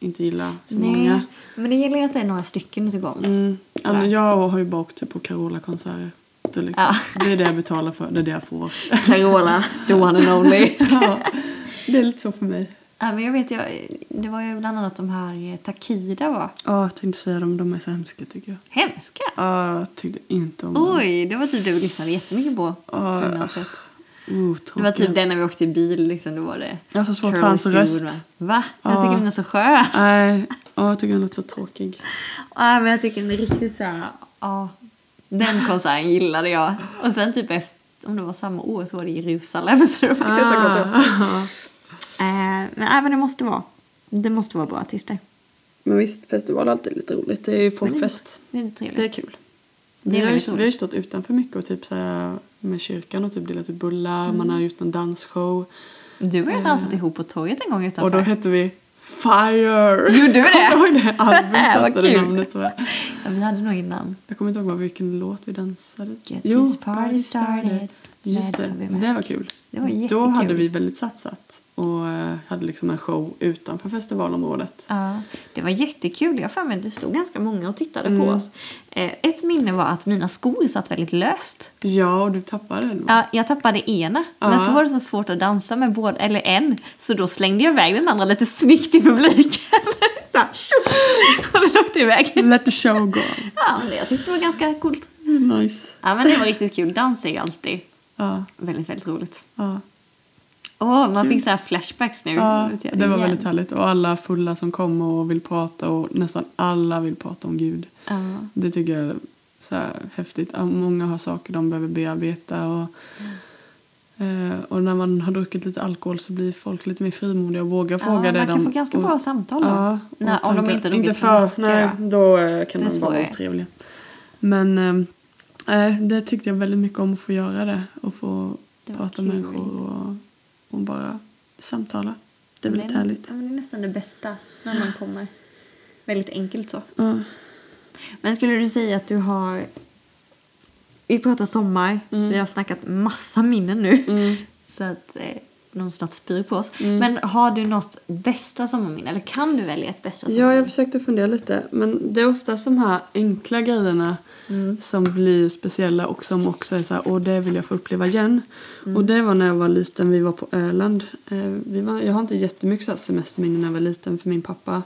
Speaker 2: inte gillar så många.
Speaker 1: Men det gäller ju att det är några stycken du tycker om.
Speaker 2: Mm. Ja, men
Speaker 1: Sådär.
Speaker 2: jag har ju bara åkt typ på Carola-konserter. Så Liksom.
Speaker 1: Ja.
Speaker 2: Det är det jag betalar för, det är det jag får.
Speaker 1: Carola, the one and only.
Speaker 2: ja, det är lite så för mig.
Speaker 1: ja, men jag vet, jag, det var ju bland annat de här eh, Takida var.
Speaker 2: Ja, jag tänkte säga dem, de är så hemska tycker jag.
Speaker 1: Hemska!
Speaker 2: Ja, jag tyckte inte om dem.
Speaker 1: Oj, det var typ det vi lyssnade jättemycket på.
Speaker 2: Mm. Ja.
Speaker 1: på gymnasiet.
Speaker 2: Oh,
Speaker 1: Det var
Speaker 2: tråkiga.
Speaker 1: typ det när vi åkte i bil. Liksom, då var det
Speaker 2: Jag har så svårt för
Speaker 1: Curly
Speaker 2: hans
Speaker 1: Sue,
Speaker 2: röst.
Speaker 1: va? Va? Jag
Speaker 2: Ja.
Speaker 1: tycker den är så skön.
Speaker 2: Nej, ja, jag tycker han låter så tråkig.
Speaker 1: Ja, men jag tycker den är riktigt så här... Ja, den konserten gillade jag. Och sen typ efter, om det var samma år så var det Jerusalem. Så det var faktiskt så gott också.
Speaker 2: Ah.
Speaker 1: Eh, men, nej, men det måste vara. Det måste vara bra artister.
Speaker 2: Men visst, festival är alltid lite roligt. Det är ju folkfest.
Speaker 1: Det är lite trevligt.
Speaker 2: Det är kul.
Speaker 1: Det är
Speaker 2: Vi har, ju,
Speaker 1: väldigt roligt.
Speaker 2: vi har ju stått utanför mycket och typ så här, med kyrkan och typ delat ut bullar.
Speaker 1: Mm.
Speaker 2: Man har gjort en dansshow.
Speaker 1: Du och jag dansat ihop på torget en gång utanför.
Speaker 2: Eh. Och då hette vi Fire!
Speaker 1: Gjorde vi det?
Speaker 2: Kommer du ihåg det? Albin
Speaker 1: Vad
Speaker 2: satte det
Speaker 1: kul.
Speaker 2: namnet tror jag.
Speaker 1: ja, vi hade nog innan.
Speaker 2: Jag kommer inte ihåg vad- vilken låt vi dansade.
Speaker 1: Get this party started.
Speaker 2: Just det,
Speaker 1: Let's be
Speaker 2: det var kul.
Speaker 1: Det var
Speaker 2: Då
Speaker 1: jättekul.
Speaker 2: hade vi väldigt satsat och eh, hade liksom en show utanför festivalområdet.
Speaker 1: Ja, det var jättekul. Jag har för mig att det stod ganska många och tittade
Speaker 2: Mm.
Speaker 1: på oss. Eh, ett minne var att mina skor satt väldigt löst.
Speaker 2: Ja, och du tappade den.
Speaker 1: Ja, jag tappade ena, men
Speaker 2: Ja.
Speaker 1: så var det så svårt att dansa med båda, eller en, så då slängde jag iväg den andra lite snyggt i publiken. så här, tjoff! och den åkte iväg.
Speaker 2: Let the show go.
Speaker 1: Ja, men det, jag tyckte det var ganska coolt.
Speaker 2: Nice.
Speaker 1: Ja, men det var riktigt kul. Dans är ju alltid
Speaker 2: Ja,
Speaker 1: väldigt, väldigt roligt.
Speaker 2: ja.
Speaker 1: Åh, man fick så här flashbacks nu.
Speaker 2: ja
Speaker 1: Vet jag
Speaker 2: Mm, det var
Speaker 1: igen.
Speaker 2: väldigt härligt. Och alla fulla som kom och vill prata och nästan alla vill prata om Gud.
Speaker 1: Ja.
Speaker 2: Det tycker jag är så här häftigt. Ja, Många har saker de behöver bearbeta och, eh, och när man har druckit lite alkohol så blir folk lite mer frimodiga och vågar
Speaker 1: Ja,
Speaker 2: fråga det
Speaker 1: man kan
Speaker 2: de...
Speaker 1: få ganska
Speaker 2: och,
Speaker 1: bra samtal då.
Speaker 2: Ja, och
Speaker 1: När, om de
Speaker 2: tankar-
Speaker 1: inte druckit
Speaker 2: inte
Speaker 1: för
Speaker 2: för,
Speaker 1: mycket,
Speaker 2: nej,
Speaker 1: ja.
Speaker 2: då eh, kan
Speaker 1: Det är
Speaker 2: de vara
Speaker 1: svårare.
Speaker 2: otrevliga. Men eh, eh, det tyckte jag väldigt mycket om att få göra det och få
Speaker 1: Det var
Speaker 2: prata
Speaker 1: kul.
Speaker 2: med människor och, och bara samtala. Det är väldigt
Speaker 1: Men-
Speaker 2: härligt.
Speaker 1: Ja, men det är nästan det bästa när man kommer. Väldigt enkelt så.
Speaker 2: Ja.
Speaker 1: Men skulle du säga att du har... Vi pratar sommar, vi har snackat massa minnen nu. Så att eh, de snart spyr på oss. Men har du något bästa sommarminne? Eller kan du välja ett bästa
Speaker 2: Ja,
Speaker 1: sommarminne?
Speaker 2: jag försökte fundera lite. Men det är oftast de här enkla grejerna
Speaker 1: Mm.
Speaker 2: som blir speciella och som också är så här, åh det vill jag få uppleva igen.
Speaker 1: Mm.
Speaker 2: Och det var när jag var liten, vi var på Öland. Eh, vi var, jag har inte jättemycket så här semesterminnen när jag var liten för min pappa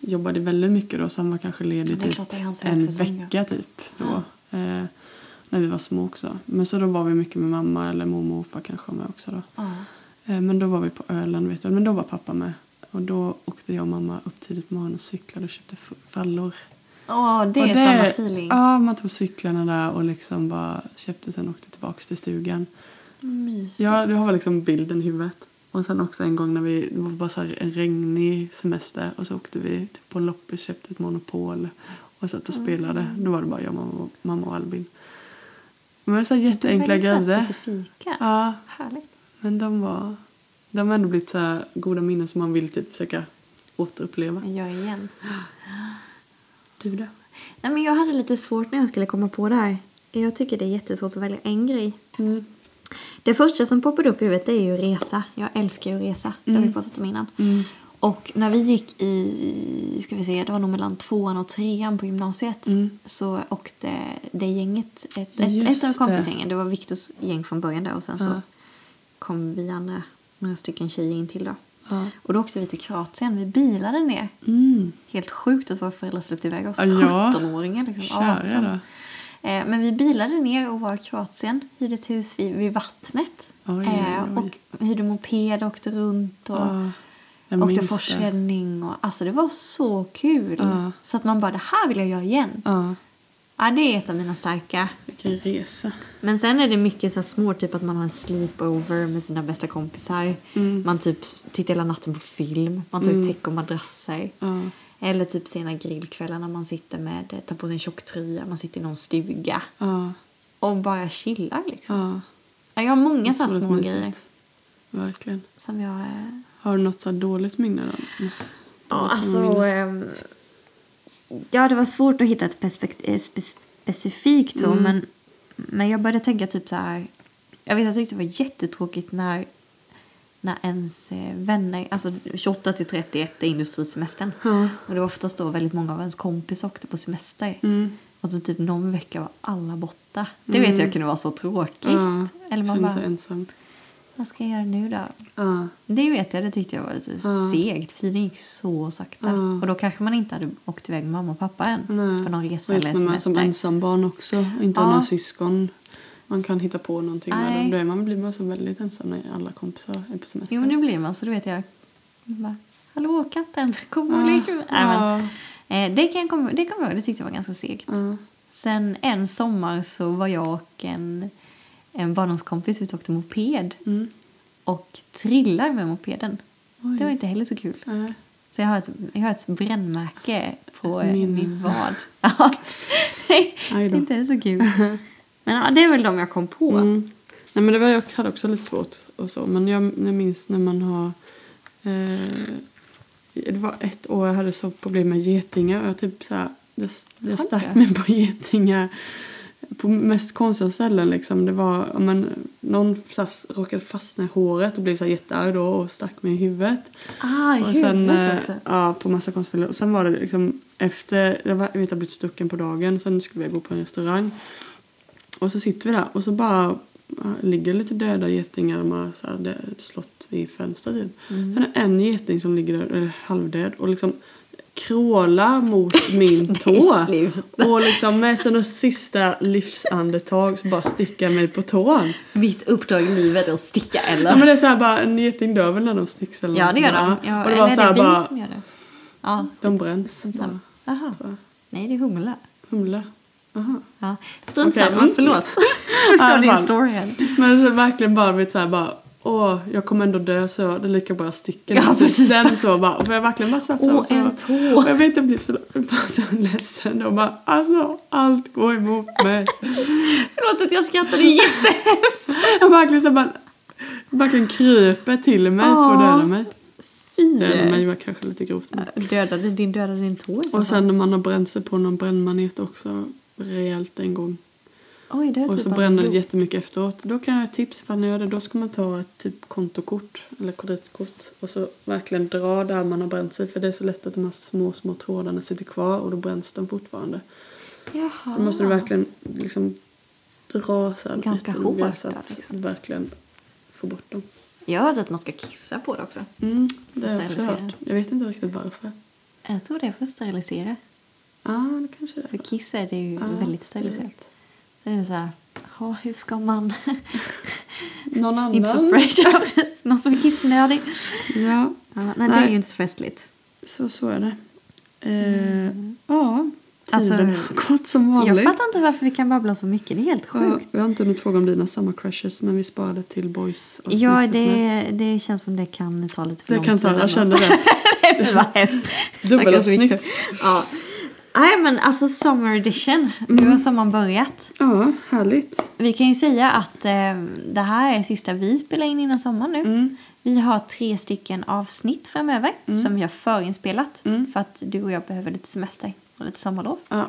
Speaker 2: jobbade väldigt mycket då så han var kanske
Speaker 1: Ja,
Speaker 2: ledig
Speaker 1: det är
Speaker 2: typ
Speaker 1: klart, det är hans
Speaker 2: en
Speaker 1: högsäsong, ja.
Speaker 2: vecka typ då. Eh, när vi var små också. Men så då var vi mycket med mamma eller mormor och morfar kanske med också då.
Speaker 1: Ja.
Speaker 2: Eh, Men då var vi på Öland, vet jag. men då var pappa med. Och då åkte jag och mamma upp tidigt på morgonen och cyklade och köpte f- fallor.
Speaker 1: Åh, det
Speaker 2: och
Speaker 1: är samma feeling.
Speaker 2: Ja, man tog cyklarna där och liksom bara köpte sen åkte tillbaks till stugan.
Speaker 1: Mysigt.
Speaker 2: Ja, du har väl liksom bilden i huvudet. Och sen också en gång när vi, det var bara så här en regnig semester och så åkte vi typ på en loppis, köpte ett monopol och satt och
Speaker 1: Ah.
Speaker 2: spelade. Då var det bara jag, mamma, och- mamma och Albin. Men så här jätteenkla
Speaker 1: Väldigt så här
Speaker 2: grejer.
Speaker 1: Specifika.
Speaker 2: Ja,
Speaker 1: Härligt.
Speaker 2: men de var... De har ändå blivit så här goda minnen som man vill typ försöka återuppleva.
Speaker 1: Men jag igen.
Speaker 2: Du då?
Speaker 1: Nej, men jag hade lite svårt när jag skulle komma på det här. Jag tycker det är jättesvårt att välja en grej.
Speaker 2: Mm.
Speaker 1: Det första som poppade upp i huvudet är ju resa. Jag älskar ju att resa. Det
Speaker 2: Mm.
Speaker 1: har vi pratat om innan. Och när vi gick i, ska vi se, det var nog mellan tvåan och trean på gymnasiet så åkte det gänget, ett, ett, ett
Speaker 2: Mm. Just
Speaker 1: av
Speaker 2: det.
Speaker 1: kompisgängen, det var Viktors gäng från början där och sen så
Speaker 2: Ja.
Speaker 1: kom vi andra, några stycken tjejer in till då.
Speaker 2: Ja.
Speaker 1: Och då åkte vi till Kroatien, vi bilade ner. Mm. Helt sjukt att våra föräldrar släppte iväg oss.
Speaker 2: Ja, ja.
Speaker 1: 17-åringar liksom.
Speaker 2: Kära
Speaker 1: 18.
Speaker 2: då.
Speaker 1: Eh, men vi bilade ner och var i Kroatien, hyrde ett hus vid, vid vattnet.
Speaker 2: Oj, oj,
Speaker 1: Eh,
Speaker 2: oj.
Speaker 1: och hyrde moped, åkte runt och
Speaker 2: Ja, jag
Speaker 1: åkte
Speaker 2: minns det.
Speaker 1: forsränning. Och, alltså det var så kul.
Speaker 2: Ja.
Speaker 1: Så att man bara, det här vill jag göra igen.
Speaker 2: Ja,
Speaker 1: Ja, det är ett av mina starka.
Speaker 2: vilken resa.
Speaker 1: Men sen är det mycket så här små, typ att man har en sleepover med sina bästa kompisar.
Speaker 2: Mm.
Speaker 1: Man typ tittar hela natten på film, man tar ut täck och madrasser.
Speaker 2: Ja.
Speaker 1: Eller typ sena grillkvällar när man sitter med, tar på sig en tjocktröja, man sitter i någon stuga.
Speaker 2: Ja,
Speaker 1: Och bara chillar liksom.
Speaker 2: ja.
Speaker 1: Ja, Jag har många så här
Speaker 2: Otroligt
Speaker 1: små
Speaker 2: mysigt.
Speaker 1: grejer
Speaker 2: Verkligen.
Speaker 1: som jag... eh,
Speaker 2: Har du något så här dåligt minne då? Något-
Speaker 1: Ja,
Speaker 2: något som
Speaker 1: alltså...
Speaker 2: minne?
Speaker 1: ehm, ja, det var svårt att hitta ett perspekt- eh, spe- specifikt så,
Speaker 2: Mm.
Speaker 1: men, men jag började tänka typ så här... Jag vet, jag tyckte det var jättetråkigt när, när ens eh, vänner... Alltså 28 till 31 är industrisemestern.
Speaker 2: Ja.
Speaker 1: Och det var oftast då väldigt många av ens kompisar åkte på semester.
Speaker 2: Mm.
Speaker 1: Och så typ någon vecka var alla borta. Det vet jag kunde vara så tråkigt.
Speaker 2: Ja,
Speaker 1: typ. Eller man
Speaker 2: känner
Speaker 1: bara,
Speaker 2: sig ensam.
Speaker 1: vad ska jag göra nu då?
Speaker 2: Ja,
Speaker 1: Det vet jag, det tyckte jag var lite
Speaker 2: Ja.
Speaker 1: segt. Tiden gick så sakta.
Speaker 2: Ja.
Speaker 1: Och då kanske man inte hade åkt iväg med mamma och pappa än.
Speaker 2: nej.
Speaker 1: På någon resa
Speaker 2: Och
Speaker 1: eller
Speaker 2: just när man är
Speaker 1: semester.
Speaker 2: som ensambarn också och inte
Speaker 1: Ja.
Speaker 2: har några syskon. Man kan hitta på någonting med
Speaker 1: Nej.
Speaker 2: dem. Då är man, blir man så väldigt ensam när alla kompisar är på semester.
Speaker 1: Jo, nu blir man så, då vet jag. Man bara, Hallå katten, kom och
Speaker 2: Ja.
Speaker 1: lek med mig." Nej, men,
Speaker 2: Ja.
Speaker 1: eh, Det kan jag komma det kommer jag ihåg, det tyckte jag var ganska segt.
Speaker 2: Ja.
Speaker 1: Sen en sommar så var jag och en, en barndomskompis ute och åkte moped.
Speaker 2: Mm.
Speaker 1: Och trillade med mopeden.
Speaker 2: Oj.
Speaker 1: Det var inte heller så kul.
Speaker 2: Nej.
Speaker 1: Så jag har ett, jag har ett brännmärke på eh,
Speaker 2: min-
Speaker 1: min vad. Ja. Nej,
Speaker 2: Aj då.
Speaker 1: inte så kul. Men ja, det är väl de jag kom på.
Speaker 2: Mm. Nej, men det var, jag hade också lite svårt och så. Men jag, jag minns när man har... Eh, det var ett år jag hade så problem med getingar. Och jag typ så här, jag, jag
Speaker 1: du?
Speaker 2: stack mig på getingar på mest konstiga ställen. Liksom. Det var, ja, men, någon så här, råkade fastna i håret och blev så här, jättearg då och stack mig i huvudet.
Speaker 1: Ah, i
Speaker 2: Och sen,
Speaker 1: huvudet
Speaker 2: eh,
Speaker 1: också.
Speaker 2: Ja, på massa konstiga Och sen var det liksom efter, jag var- jag vet jag blivit stucken på dagen, sen skulle vi gå på en restaurang. Och så sitter vi där och så bara ja, ligger lite döda getingar, de har så här dö- slått vid fönstret typ.
Speaker 1: Mm.
Speaker 2: Sen är det en geting som ligger död, eller halvdöd och liksom krålar mot min tå.
Speaker 1: sluta.
Speaker 2: och liksom med sina sista livsandetag så bara stickar mig på tån.
Speaker 1: Mitt uppdrag i livet är att sticka
Speaker 2: Ja,
Speaker 1: eller?
Speaker 2: men det är så här bara, en geting dör väl när de sticks eller
Speaker 1: Ja, det gör de.
Speaker 2: någonting, va?
Speaker 1: Ja,
Speaker 2: och det
Speaker 1: eller
Speaker 2: var
Speaker 1: är
Speaker 2: så
Speaker 1: det
Speaker 2: här
Speaker 1: vi
Speaker 2: bara,
Speaker 1: som gör det? Ja.
Speaker 2: de bränns. bara.
Speaker 1: Aha.
Speaker 2: tror jag.
Speaker 1: Nej, det är humla.
Speaker 2: Humla. Aha.
Speaker 1: Ja. Strunt
Speaker 2: Okej,
Speaker 1: samma,
Speaker 2: mm.
Speaker 1: förlåt. Förstår
Speaker 2: alla
Speaker 1: din
Speaker 2: fall.
Speaker 1: story än.
Speaker 2: Men så verkligen bara vet så här bara Åh, jag kommer ändå dö så det är lika bra jag sticker.
Speaker 1: Ja,
Speaker 2: Typ
Speaker 1: precis.
Speaker 2: Den så bara, för jag verkligen bara satt så här
Speaker 1: Åh,
Speaker 2: och så
Speaker 1: en
Speaker 2: bara-
Speaker 1: tå.
Speaker 2: och Jag vet jag blev så, bara så ledsen och bara alltså allt går emot mig.
Speaker 1: Förlåt att jag skrattade jättehemskt.
Speaker 2: jag verkligen så här bara verkligen kryper till mig för att
Speaker 1: Åh,
Speaker 2: döda mig.
Speaker 1: Fy.
Speaker 2: Döda mig var kanske lite grovt. Men.
Speaker 1: Dödade din, dödade din tå i så
Speaker 2: Och
Speaker 1: fall.
Speaker 2: sen när man har bränt sig på någon brännmanet också rejält en gång.
Speaker 1: Oj, det är
Speaker 2: Och
Speaker 1: typ
Speaker 2: så
Speaker 1: bara
Speaker 2: bränner det
Speaker 1: blod.
Speaker 2: jättemycket efteråt. Då kan jag tipsa ifall ni gör det. Då ska man ta ett typ kontokort eller kreditkort och så verkligen dra där man har bränt sig. För det är så lätt att de här små, små trådarna sitter kvar och då bränns de fortfarande.
Speaker 1: Jaha.
Speaker 2: Så då måste du verkligen liksom dra så här
Speaker 1: Ah. Ganska
Speaker 2: lite noga
Speaker 1: hårt
Speaker 2: så
Speaker 1: där,
Speaker 2: att
Speaker 1: liksom.
Speaker 2: verkligen få bort dem.
Speaker 1: Jag har hört att man ska kissa på det också.
Speaker 2: Mm, det har jag också
Speaker 1: Sterilisera.
Speaker 2: hört. Jag vet inte riktigt varför.
Speaker 1: Jag tror det är för att sterilisera.
Speaker 2: Ja, ah, det kanske är
Speaker 1: För
Speaker 2: det.
Speaker 1: kiss är det ju
Speaker 2: Ja,
Speaker 1: väldigt steriliserat.
Speaker 2: direkt.
Speaker 1: Det är så här, ja, hur ska man...
Speaker 2: Någon annan?
Speaker 1: inte så fresh. Någon som är kissnödig.
Speaker 2: Ja.
Speaker 1: Ja, nej, det
Speaker 2: Nej.
Speaker 1: är ju inte så festligt.
Speaker 2: Så, så är det. Eh, Ja,
Speaker 1: Mm. Alltså,
Speaker 2: tiden har gått som vanligt.
Speaker 1: Jag fattar inte varför vi kan babbla så mycket. Det är helt
Speaker 2: Ja,
Speaker 1: sjukt.
Speaker 2: vi har inte hunnit fråga om dina summer crushes men vi sparade till boys
Speaker 1: Ja, det, det känns som det kan ta lite för
Speaker 2: Det
Speaker 1: lång
Speaker 2: kan
Speaker 1: tid.
Speaker 2: ta, jag
Speaker 1: annars.
Speaker 2: kände det.
Speaker 1: Fy, vad hemskt.
Speaker 2: Dubbelavsnitt.
Speaker 1: Stackars Victor. Ja. Nej, men alltså summer edition. Nu har sommaren börjat.
Speaker 2: Ja, härligt.
Speaker 1: Vi kan ju säga att eh, det här är sista vi spelar in innan sommaren nu.
Speaker 2: Mm.
Speaker 1: Vi har tre stycken avsnitt framöver som vi har förinspelat
Speaker 2: Mm.
Speaker 1: för att du och jag behöver lite semester och lite sommarlov.
Speaker 2: Ja,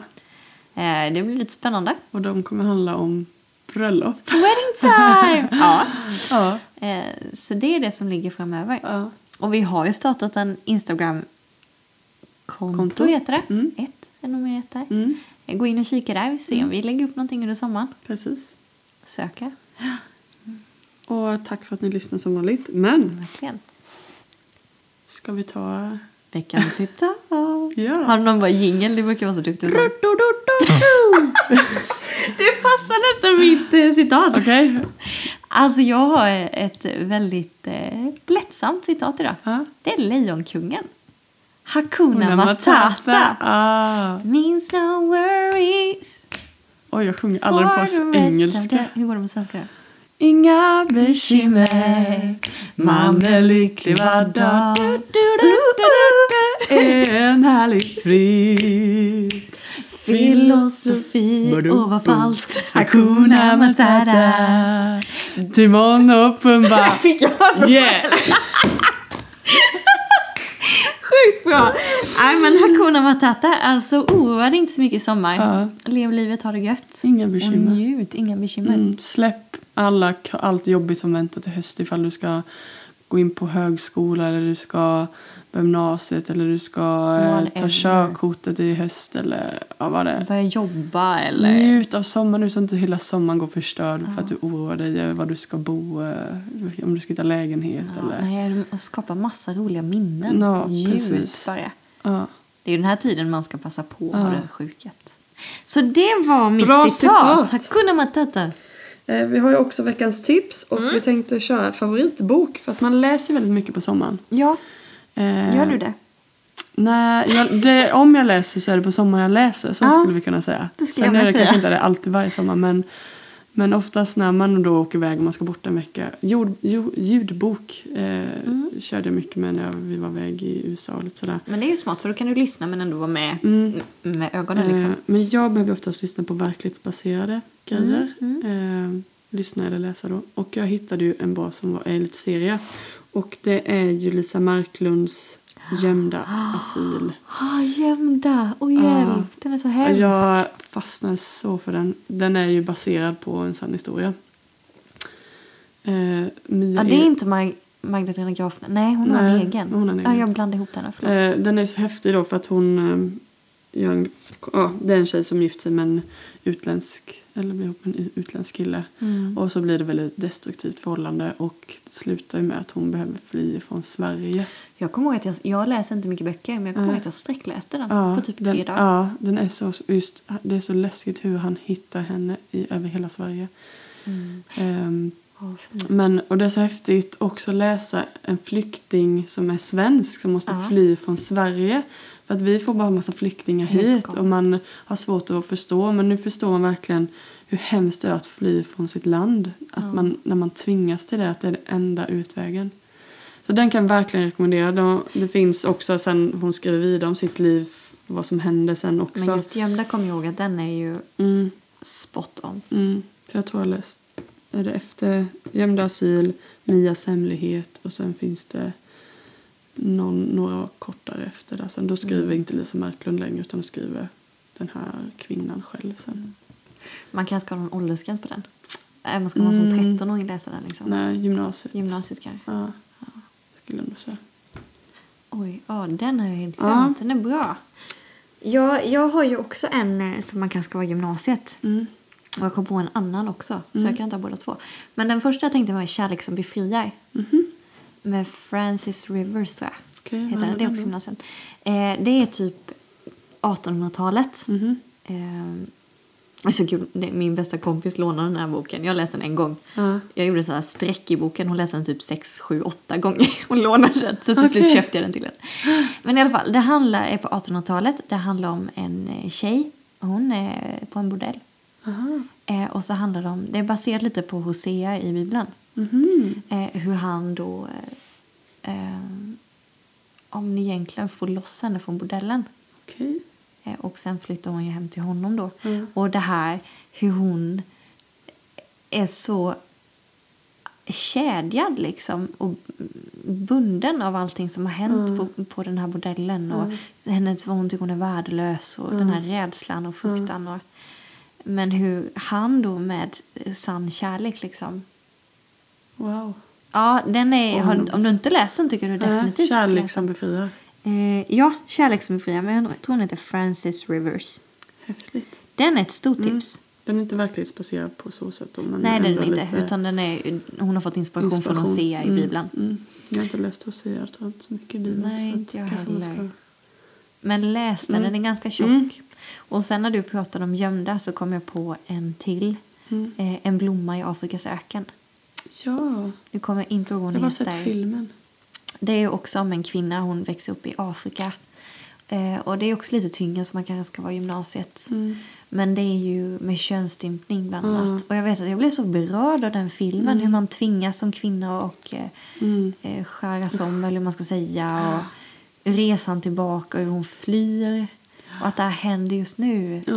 Speaker 1: Eh, det blir lite spännande.
Speaker 2: och de kommer handla om bröllop.
Speaker 1: Wedding time! ja.
Speaker 2: Ja.
Speaker 1: eh, så det är det som ligger framöver.
Speaker 2: Ja.
Speaker 1: Och vi har ju startat en Instagram konto
Speaker 2: Konto.
Speaker 1: heter det.
Speaker 2: Mm.
Speaker 1: Ett är nog mer heter.
Speaker 2: Mm.
Speaker 1: Eh, Gå in och kika där, vi ser om vi lägger upp någonting under sommaren.
Speaker 2: Precis.
Speaker 1: Söka,
Speaker 2: Och tack för att ni lyssnar som vanligt. Men
Speaker 1: verkligen.
Speaker 2: ska vi ta...
Speaker 1: Veckans citat.
Speaker 2: Ja.
Speaker 1: Har du någon bara jingel? Du brukar vara så duktig. på sånt. Du passar nästan mitt eh, citat.
Speaker 2: Okej.
Speaker 1: Alltså jag har ett väldigt eh, lättsamt citat idag.
Speaker 2: Ja.
Speaker 1: Det är Lejonkungen. Hakuna
Speaker 2: Matata.
Speaker 1: Matata.
Speaker 2: Ah.
Speaker 1: Means no worries.
Speaker 2: Oj, jag sjunger aldrig på
Speaker 1: for the rest of
Speaker 2: engelska.
Speaker 1: the- Hur går det på svenska då?
Speaker 2: Inga bekymmer, man är lycklig var dag. Du, du, du, du, du, du. En härlig frid.
Speaker 1: Filosofi,
Speaker 2: Badum,
Speaker 1: åh vad
Speaker 2: bum.
Speaker 1: falskt.
Speaker 2: Hakuna Matata. Timon uppenbar.
Speaker 1: Fick jag det?
Speaker 2: Yeah!
Speaker 1: Sjukt bra! Nej men Hakuna Matata, alltså oroa dig inte så mycket i sommar.
Speaker 2: Ja.
Speaker 1: Lev livet, ha det gött.
Speaker 2: Inga
Speaker 1: Och
Speaker 2: bekymmer.
Speaker 1: njut, inga bekymmer.
Speaker 2: Mm, släpp alla, allt jobbigt som väntar till höst ifall du ska gå in på högskola eller du ska börja gymnasiet eller du ska eh, ta
Speaker 1: Whatever.
Speaker 2: körkortet i höst eller ja, vad det är.
Speaker 1: Börja jobba eller...
Speaker 2: Njut av sommaren nu så inte hela sommaren går förstörd för att du oroar dig över var du ska bo, eh, om du ska hitta lägenhet
Speaker 1: Ja,
Speaker 2: eller...
Speaker 1: nej, och skapa massa roliga minnen.
Speaker 2: Ja,
Speaker 1: Njut
Speaker 2: precis.
Speaker 1: bara.
Speaker 2: Ja.
Speaker 1: Det är ju den här tiden man ska passa på att
Speaker 2: Ja.
Speaker 1: ha det sjukt. Så det var mitt
Speaker 2: Bra
Speaker 1: citat.
Speaker 2: citat.
Speaker 1: Hakuna Matata.
Speaker 2: Eh, Vi har ju också veckans tips och
Speaker 1: Mm.
Speaker 2: vi tänkte köra favoritbok för att man läser ju väldigt mycket på sommaren.
Speaker 1: Ja,
Speaker 2: Eh,
Speaker 1: gör du det?
Speaker 2: Nej, jag, det, om jag läser så är det på sommaren jag läser. Så
Speaker 1: Ja,
Speaker 2: skulle vi kunna säga.
Speaker 1: det skulle
Speaker 2: Sen
Speaker 1: jag
Speaker 2: är det
Speaker 1: med säga.
Speaker 2: kanske inte det alltid varje sommar men, men oftast när man då åker iväg och man ska bort en vecka. Ljud, ljud, ljudbok eh,
Speaker 1: Mm.
Speaker 2: körde jag mycket med när jag, vi var iväg i USA och lite sådär.
Speaker 1: Men det är ju smart för då kan du lyssna men ändå vara med
Speaker 2: Mm.
Speaker 1: med ögonen
Speaker 2: Eh,
Speaker 1: liksom.
Speaker 2: men jag behöver oftast lyssna på verklighetsbaserade grejer.
Speaker 1: Mm,
Speaker 2: Eh, lyssna eller läsa då. Och jag hittade ju en bra som var en liten serie. Och det är ju Lisa Marklunds Gömda asyl.
Speaker 1: Ah, gömda! Och hjälp!
Speaker 2: Eh. Ja.
Speaker 1: Den är så
Speaker 2: Ja,
Speaker 1: hemsk.
Speaker 2: Jag fastnar så för den. Den är ju baserad på en sann historia. Eh, Mia
Speaker 1: ja, det är
Speaker 2: är-
Speaker 1: inte Mag- Magdalena Graf. Nej, hon har
Speaker 2: Nej,
Speaker 1: en egen.
Speaker 2: hon har en egen.
Speaker 1: Ja, jag blandade ihop den. här, förlåt.
Speaker 2: Eh, den är så häftig då för att hon... Eh, gör en, ja, det är en tjej som gift sig med en utländsk, eller blir ihop med en utländsk kille.
Speaker 1: Mm.
Speaker 2: Och så blir det väldigt destruktivt förhållande och det slutar ju med att hon behöver fly från Sverige.
Speaker 1: Jag kommer ihåg att jag, jag läser inte mycket böcker men jag kommer
Speaker 2: Nej.
Speaker 1: ihåg att jag sträckläste den
Speaker 2: Ja,
Speaker 1: på typ tre
Speaker 2: den,
Speaker 1: dagar.
Speaker 2: Ja, den är så, just, det är så läskigt hur han hittar henne i, över hela Sverige.
Speaker 1: Mm.
Speaker 2: Ehm,
Speaker 1: Ja, vad fint.
Speaker 2: Men, och det är så häftigt också att läsa en flykting som är svensk som måste
Speaker 1: Ja.
Speaker 2: fly från Sverige. För att vi får bara en massa flyktingar
Speaker 1: Helt
Speaker 2: hit
Speaker 1: galet.
Speaker 2: och man har svårt att förstå. Men nu förstår man verkligen hur hemskt det är att fly från sitt land. Att man, när man tvingas till det, att det är den enda utvägen. Så den kan jag verkligen rekommendera. Då- Det finns också sen hon skriver vidare om sitt liv, vad som hände sen också.
Speaker 1: Men just gömda kommer jag ihåg att den är ju
Speaker 2: mm.
Speaker 1: spot on.
Speaker 2: Mm, så jag tror jag läst. Är det efter Gömda asyl, Mias hemlighet och sen finns det någon, några kortare efter där. Sen då skriver
Speaker 1: Mm.
Speaker 2: inte Lisa Marklund längre utan då skriver den här kvinnan själv sen.
Speaker 1: Mm. Man kanske ska ha någon åldersgräns på den. Äh, Man ska vara som 13-åring och läsa den liksom.
Speaker 2: Mm. Nej, gymnasiet.
Speaker 1: Gymnasiet kanske.
Speaker 2: Ja, skulle jag nog säga.
Speaker 1: Oj, ja den har jag helt
Speaker 2: Ja.
Speaker 1: glömt. Den är bra. Jag, jag har ju också en eh, som man kanske ska vara i gymnasiet. Och jag kom på en annan också, så jag kan ta båda två. Men den första jag tänkte var Kärlek som befriar. Mhm. Med Francis Rivers tror jag.
Speaker 2: Okej, vad
Speaker 1: heter den. Det
Speaker 2: handlar
Speaker 1: är också
Speaker 2: den om?
Speaker 1: gymnasiet. Eh, det är typ 1800-talet.
Speaker 2: Mhm.
Speaker 1: Eh, alltså, gud, det, min bästa kompis lånade den här boken. Jag läste den en gång.
Speaker 2: Ja.
Speaker 1: Jag gjorde så här streck i boken. Hon läste den typ 6, 7, 8 gånger. Hon lånade den. Så till slut
Speaker 2: Okej.
Speaker 1: köpte jag den till henne. Men i alla fall, det handlar, är på 1800-talet. Det handlar om en eh, tjej. Hon är på en bordell. Eh, och så handlar det om, det är baserat lite på Hosea i Bibeln.
Speaker 2: Mhm.
Speaker 1: Eh, hur han då, eh, eh, om ni egentligen får loss henne från bordellen.
Speaker 2: Okej.
Speaker 1: Eh, och sen flyttar hon ju hem till honom då.
Speaker 2: Mm.
Speaker 1: Och det här hur hon är så kedjad liksom och bunden av allting som har hänt
Speaker 2: Mm.
Speaker 1: på, på den här bordellen och hennes, vad hon tycker hon är värdelös och den
Speaker 2: Mm.
Speaker 1: här rädslan och fruktan. Och, men hur han då med sann kärlek liksom
Speaker 2: Wow.
Speaker 1: Ja, den är,
Speaker 2: Och han-
Speaker 1: har, om du inte läst den tycker jag du
Speaker 2: Ja,
Speaker 1: definitivt ska
Speaker 2: kärlek
Speaker 1: läsa.
Speaker 2: som befriar.
Speaker 1: Eh, ja, Kärlek som är fria, men jag tror hon heter Frances Rivers.
Speaker 2: Häftigt.
Speaker 1: Den är ett
Speaker 2: Mm.
Speaker 1: stort tips.
Speaker 2: Den är inte verklighetsbaserad på så sätt. då, Men
Speaker 1: Nej, den
Speaker 2: ändå
Speaker 1: är inte.
Speaker 2: lite
Speaker 1: Utan den är, hon har fått inspiration, från
Speaker 2: Inspiration.
Speaker 1: Hosea i
Speaker 2: Mm,
Speaker 1: Bibeln.
Speaker 2: Mm. Jag har inte läst Hosea, jag tror inte så mycket i Bibeln.
Speaker 1: Nej,
Speaker 2: så att
Speaker 1: inte jag
Speaker 2: kanske man ska
Speaker 1: heller. Men läs den,
Speaker 2: Mm.
Speaker 1: den är ganska tjock. Och sen när du pratade om gömda så kom jag på en till.
Speaker 2: Mm.
Speaker 1: Eh, en blomma i Afrikas öken.
Speaker 2: Ja,
Speaker 1: Nu kommer jag inte ihåg vad
Speaker 2: jag har
Speaker 1: hon
Speaker 2: sett
Speaker 1: heter.
Speaker 2: filmen.
Speaker 1: Det är ju också om en kvinna, hon växer upp i Afrika. Eh, och det är också lite tyngre som man kanske ska vara i gymnasiet. Men det är ju med könsstympning bland annat. Och jag vet att jag blev så berörd av den filmen. Hur man tvingas som kvinna och eh, eh, skäras om eller hur man ska säga. Och resan tillbaka och hur hon flyr. Och att det här händer just nu.
Speaker 2: Ja,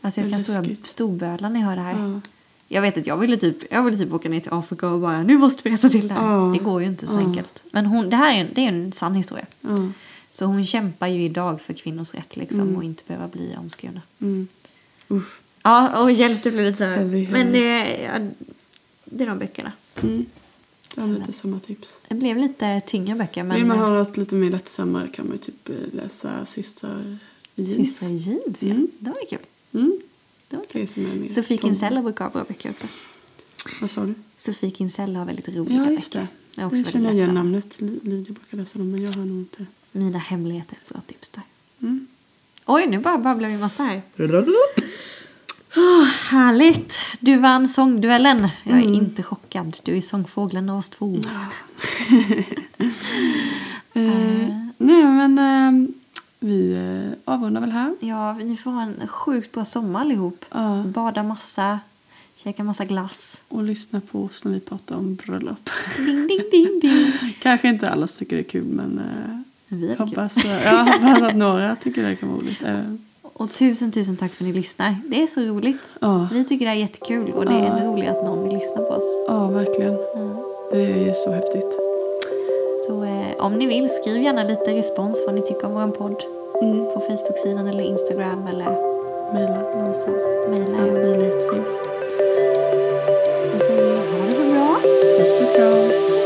Speaker 1: Alltså jag
Speaker 2: det
Speaker 1: kan
Speaker 2: är
Speaker 1: stora
Speaker 2: läskigt.
Speaker 1: storböla när jag hör det här.
Speaker 2: Ja.
Speaker 1: Jag vet att jag ville, typ, jag ville typ åka ner till Afrika och bara nu måste vi rätta till det här.
Speaker 2: Ja.
Speaker 1: Det går ju inte så
Speaker 2: Ja.
Speaker 1: enkelt. Men hon, det här är en, det är en sann historia.
Speaker 2: Ja. mm.
Speaker 1: Så hon kämpar ju idag för kvinnors rätt liksom och inte behöva bli omskurna.
Speaker 2: Mm. Usch.
Speaker 1: Ja, och hjälp det blir lite så här.
Speaker 2: Heavy, heavy.
Speaker 1: Men det, ja, det är de böckerna.
Speaker 2: Mm. Det var
Speaker 1: Så
Speaker 2: lite samma tips.
Speaker 1: Det blev lite tyngre böcker men... eh,
Speaker 2: Vill man ha något lite mer lättsammare kan man ju typ eh, läsa Systrar i jeans.
Speaker 1: Systrar i jeans, ja.
Speaker 2: Mm.
Speaker 1: Det var ju kul.
Speaker 2: Mm.
Speaker 1: Det var
Speaker 2: Det
Speaker 1: kul.
Speaker 2: är som är mer
Speaker 1: Sofie
Speaker 2: tonåring.
Speaker 1: Kinsella brukar ha bra böcker också.
Speaker 2: Vad sa du?
Speaker 1: Sofie Kinsella har väldigt roliga
Speaker 2: Ja, just
Speaker 1: böcker.
Speaker 2: det.
Speaker 1: Det är också
Speaker 2: Jag känner
Speaker 1: väldigt
Speaker 2: igen
Speaker 1: lättsamma.
Speaker 2: namnet. Li- Lydia brukar läsa dem, men jag har nog inte...
Speaker 1: Mina hemligheter, så tips där.
Speaker 2: Mm.
Speaker 1: Oj, nu bara babblar vi massa här. Åh, härligt! Du vann sångduellen. Jag är inte chockad. Du är sångfågeln av oss två.
Speaker 2: Eh, nej, men eh, vi eh, avrundar väl här.
Speaker 1: Ja, ni får ha en sjukt bra sommar allihop.
Speaker 2: Ja.
Speaker 1: Bada massa, käka massa glass.
Speaker 2: Och lyssna på oss när vi pratar om bröllop.
Speaker 1: Ding, ding, ding, ding.
Speaker 2: Kanske inte alla tycker det är kul, men eh,
Speaker 1: Vi hade kul.
Speaker 2: hoppas, eh, jag hoppas att några tycker det kan vara roligt. Eh,
Speaker 1: Och tusen, tusen tack för att ni lyssnar. Det är så roligt.
Speaker 2: Ja,
Speaker 1: Vi tycker det här är jättekul och det är ännu roligare att någon vill lyssna på oss.
Speaker 2: ja, verkligen. Det är så häftigt.
Speaker 1: Så eh, om ni vill, skriv gärna lite respons vad ni tycker om vår podd.
Speaker 2: Mm.
Speaker 1: På Facebook-sidan eller Instagram eller
Speaker 2: Mejla.
Speaker 1: någonstans. Mejla.
Speaker 2: Alla mejligheter finns.
Speaker 1: Då säger vi ha det så bra.
Speaker 2: Puss och kram.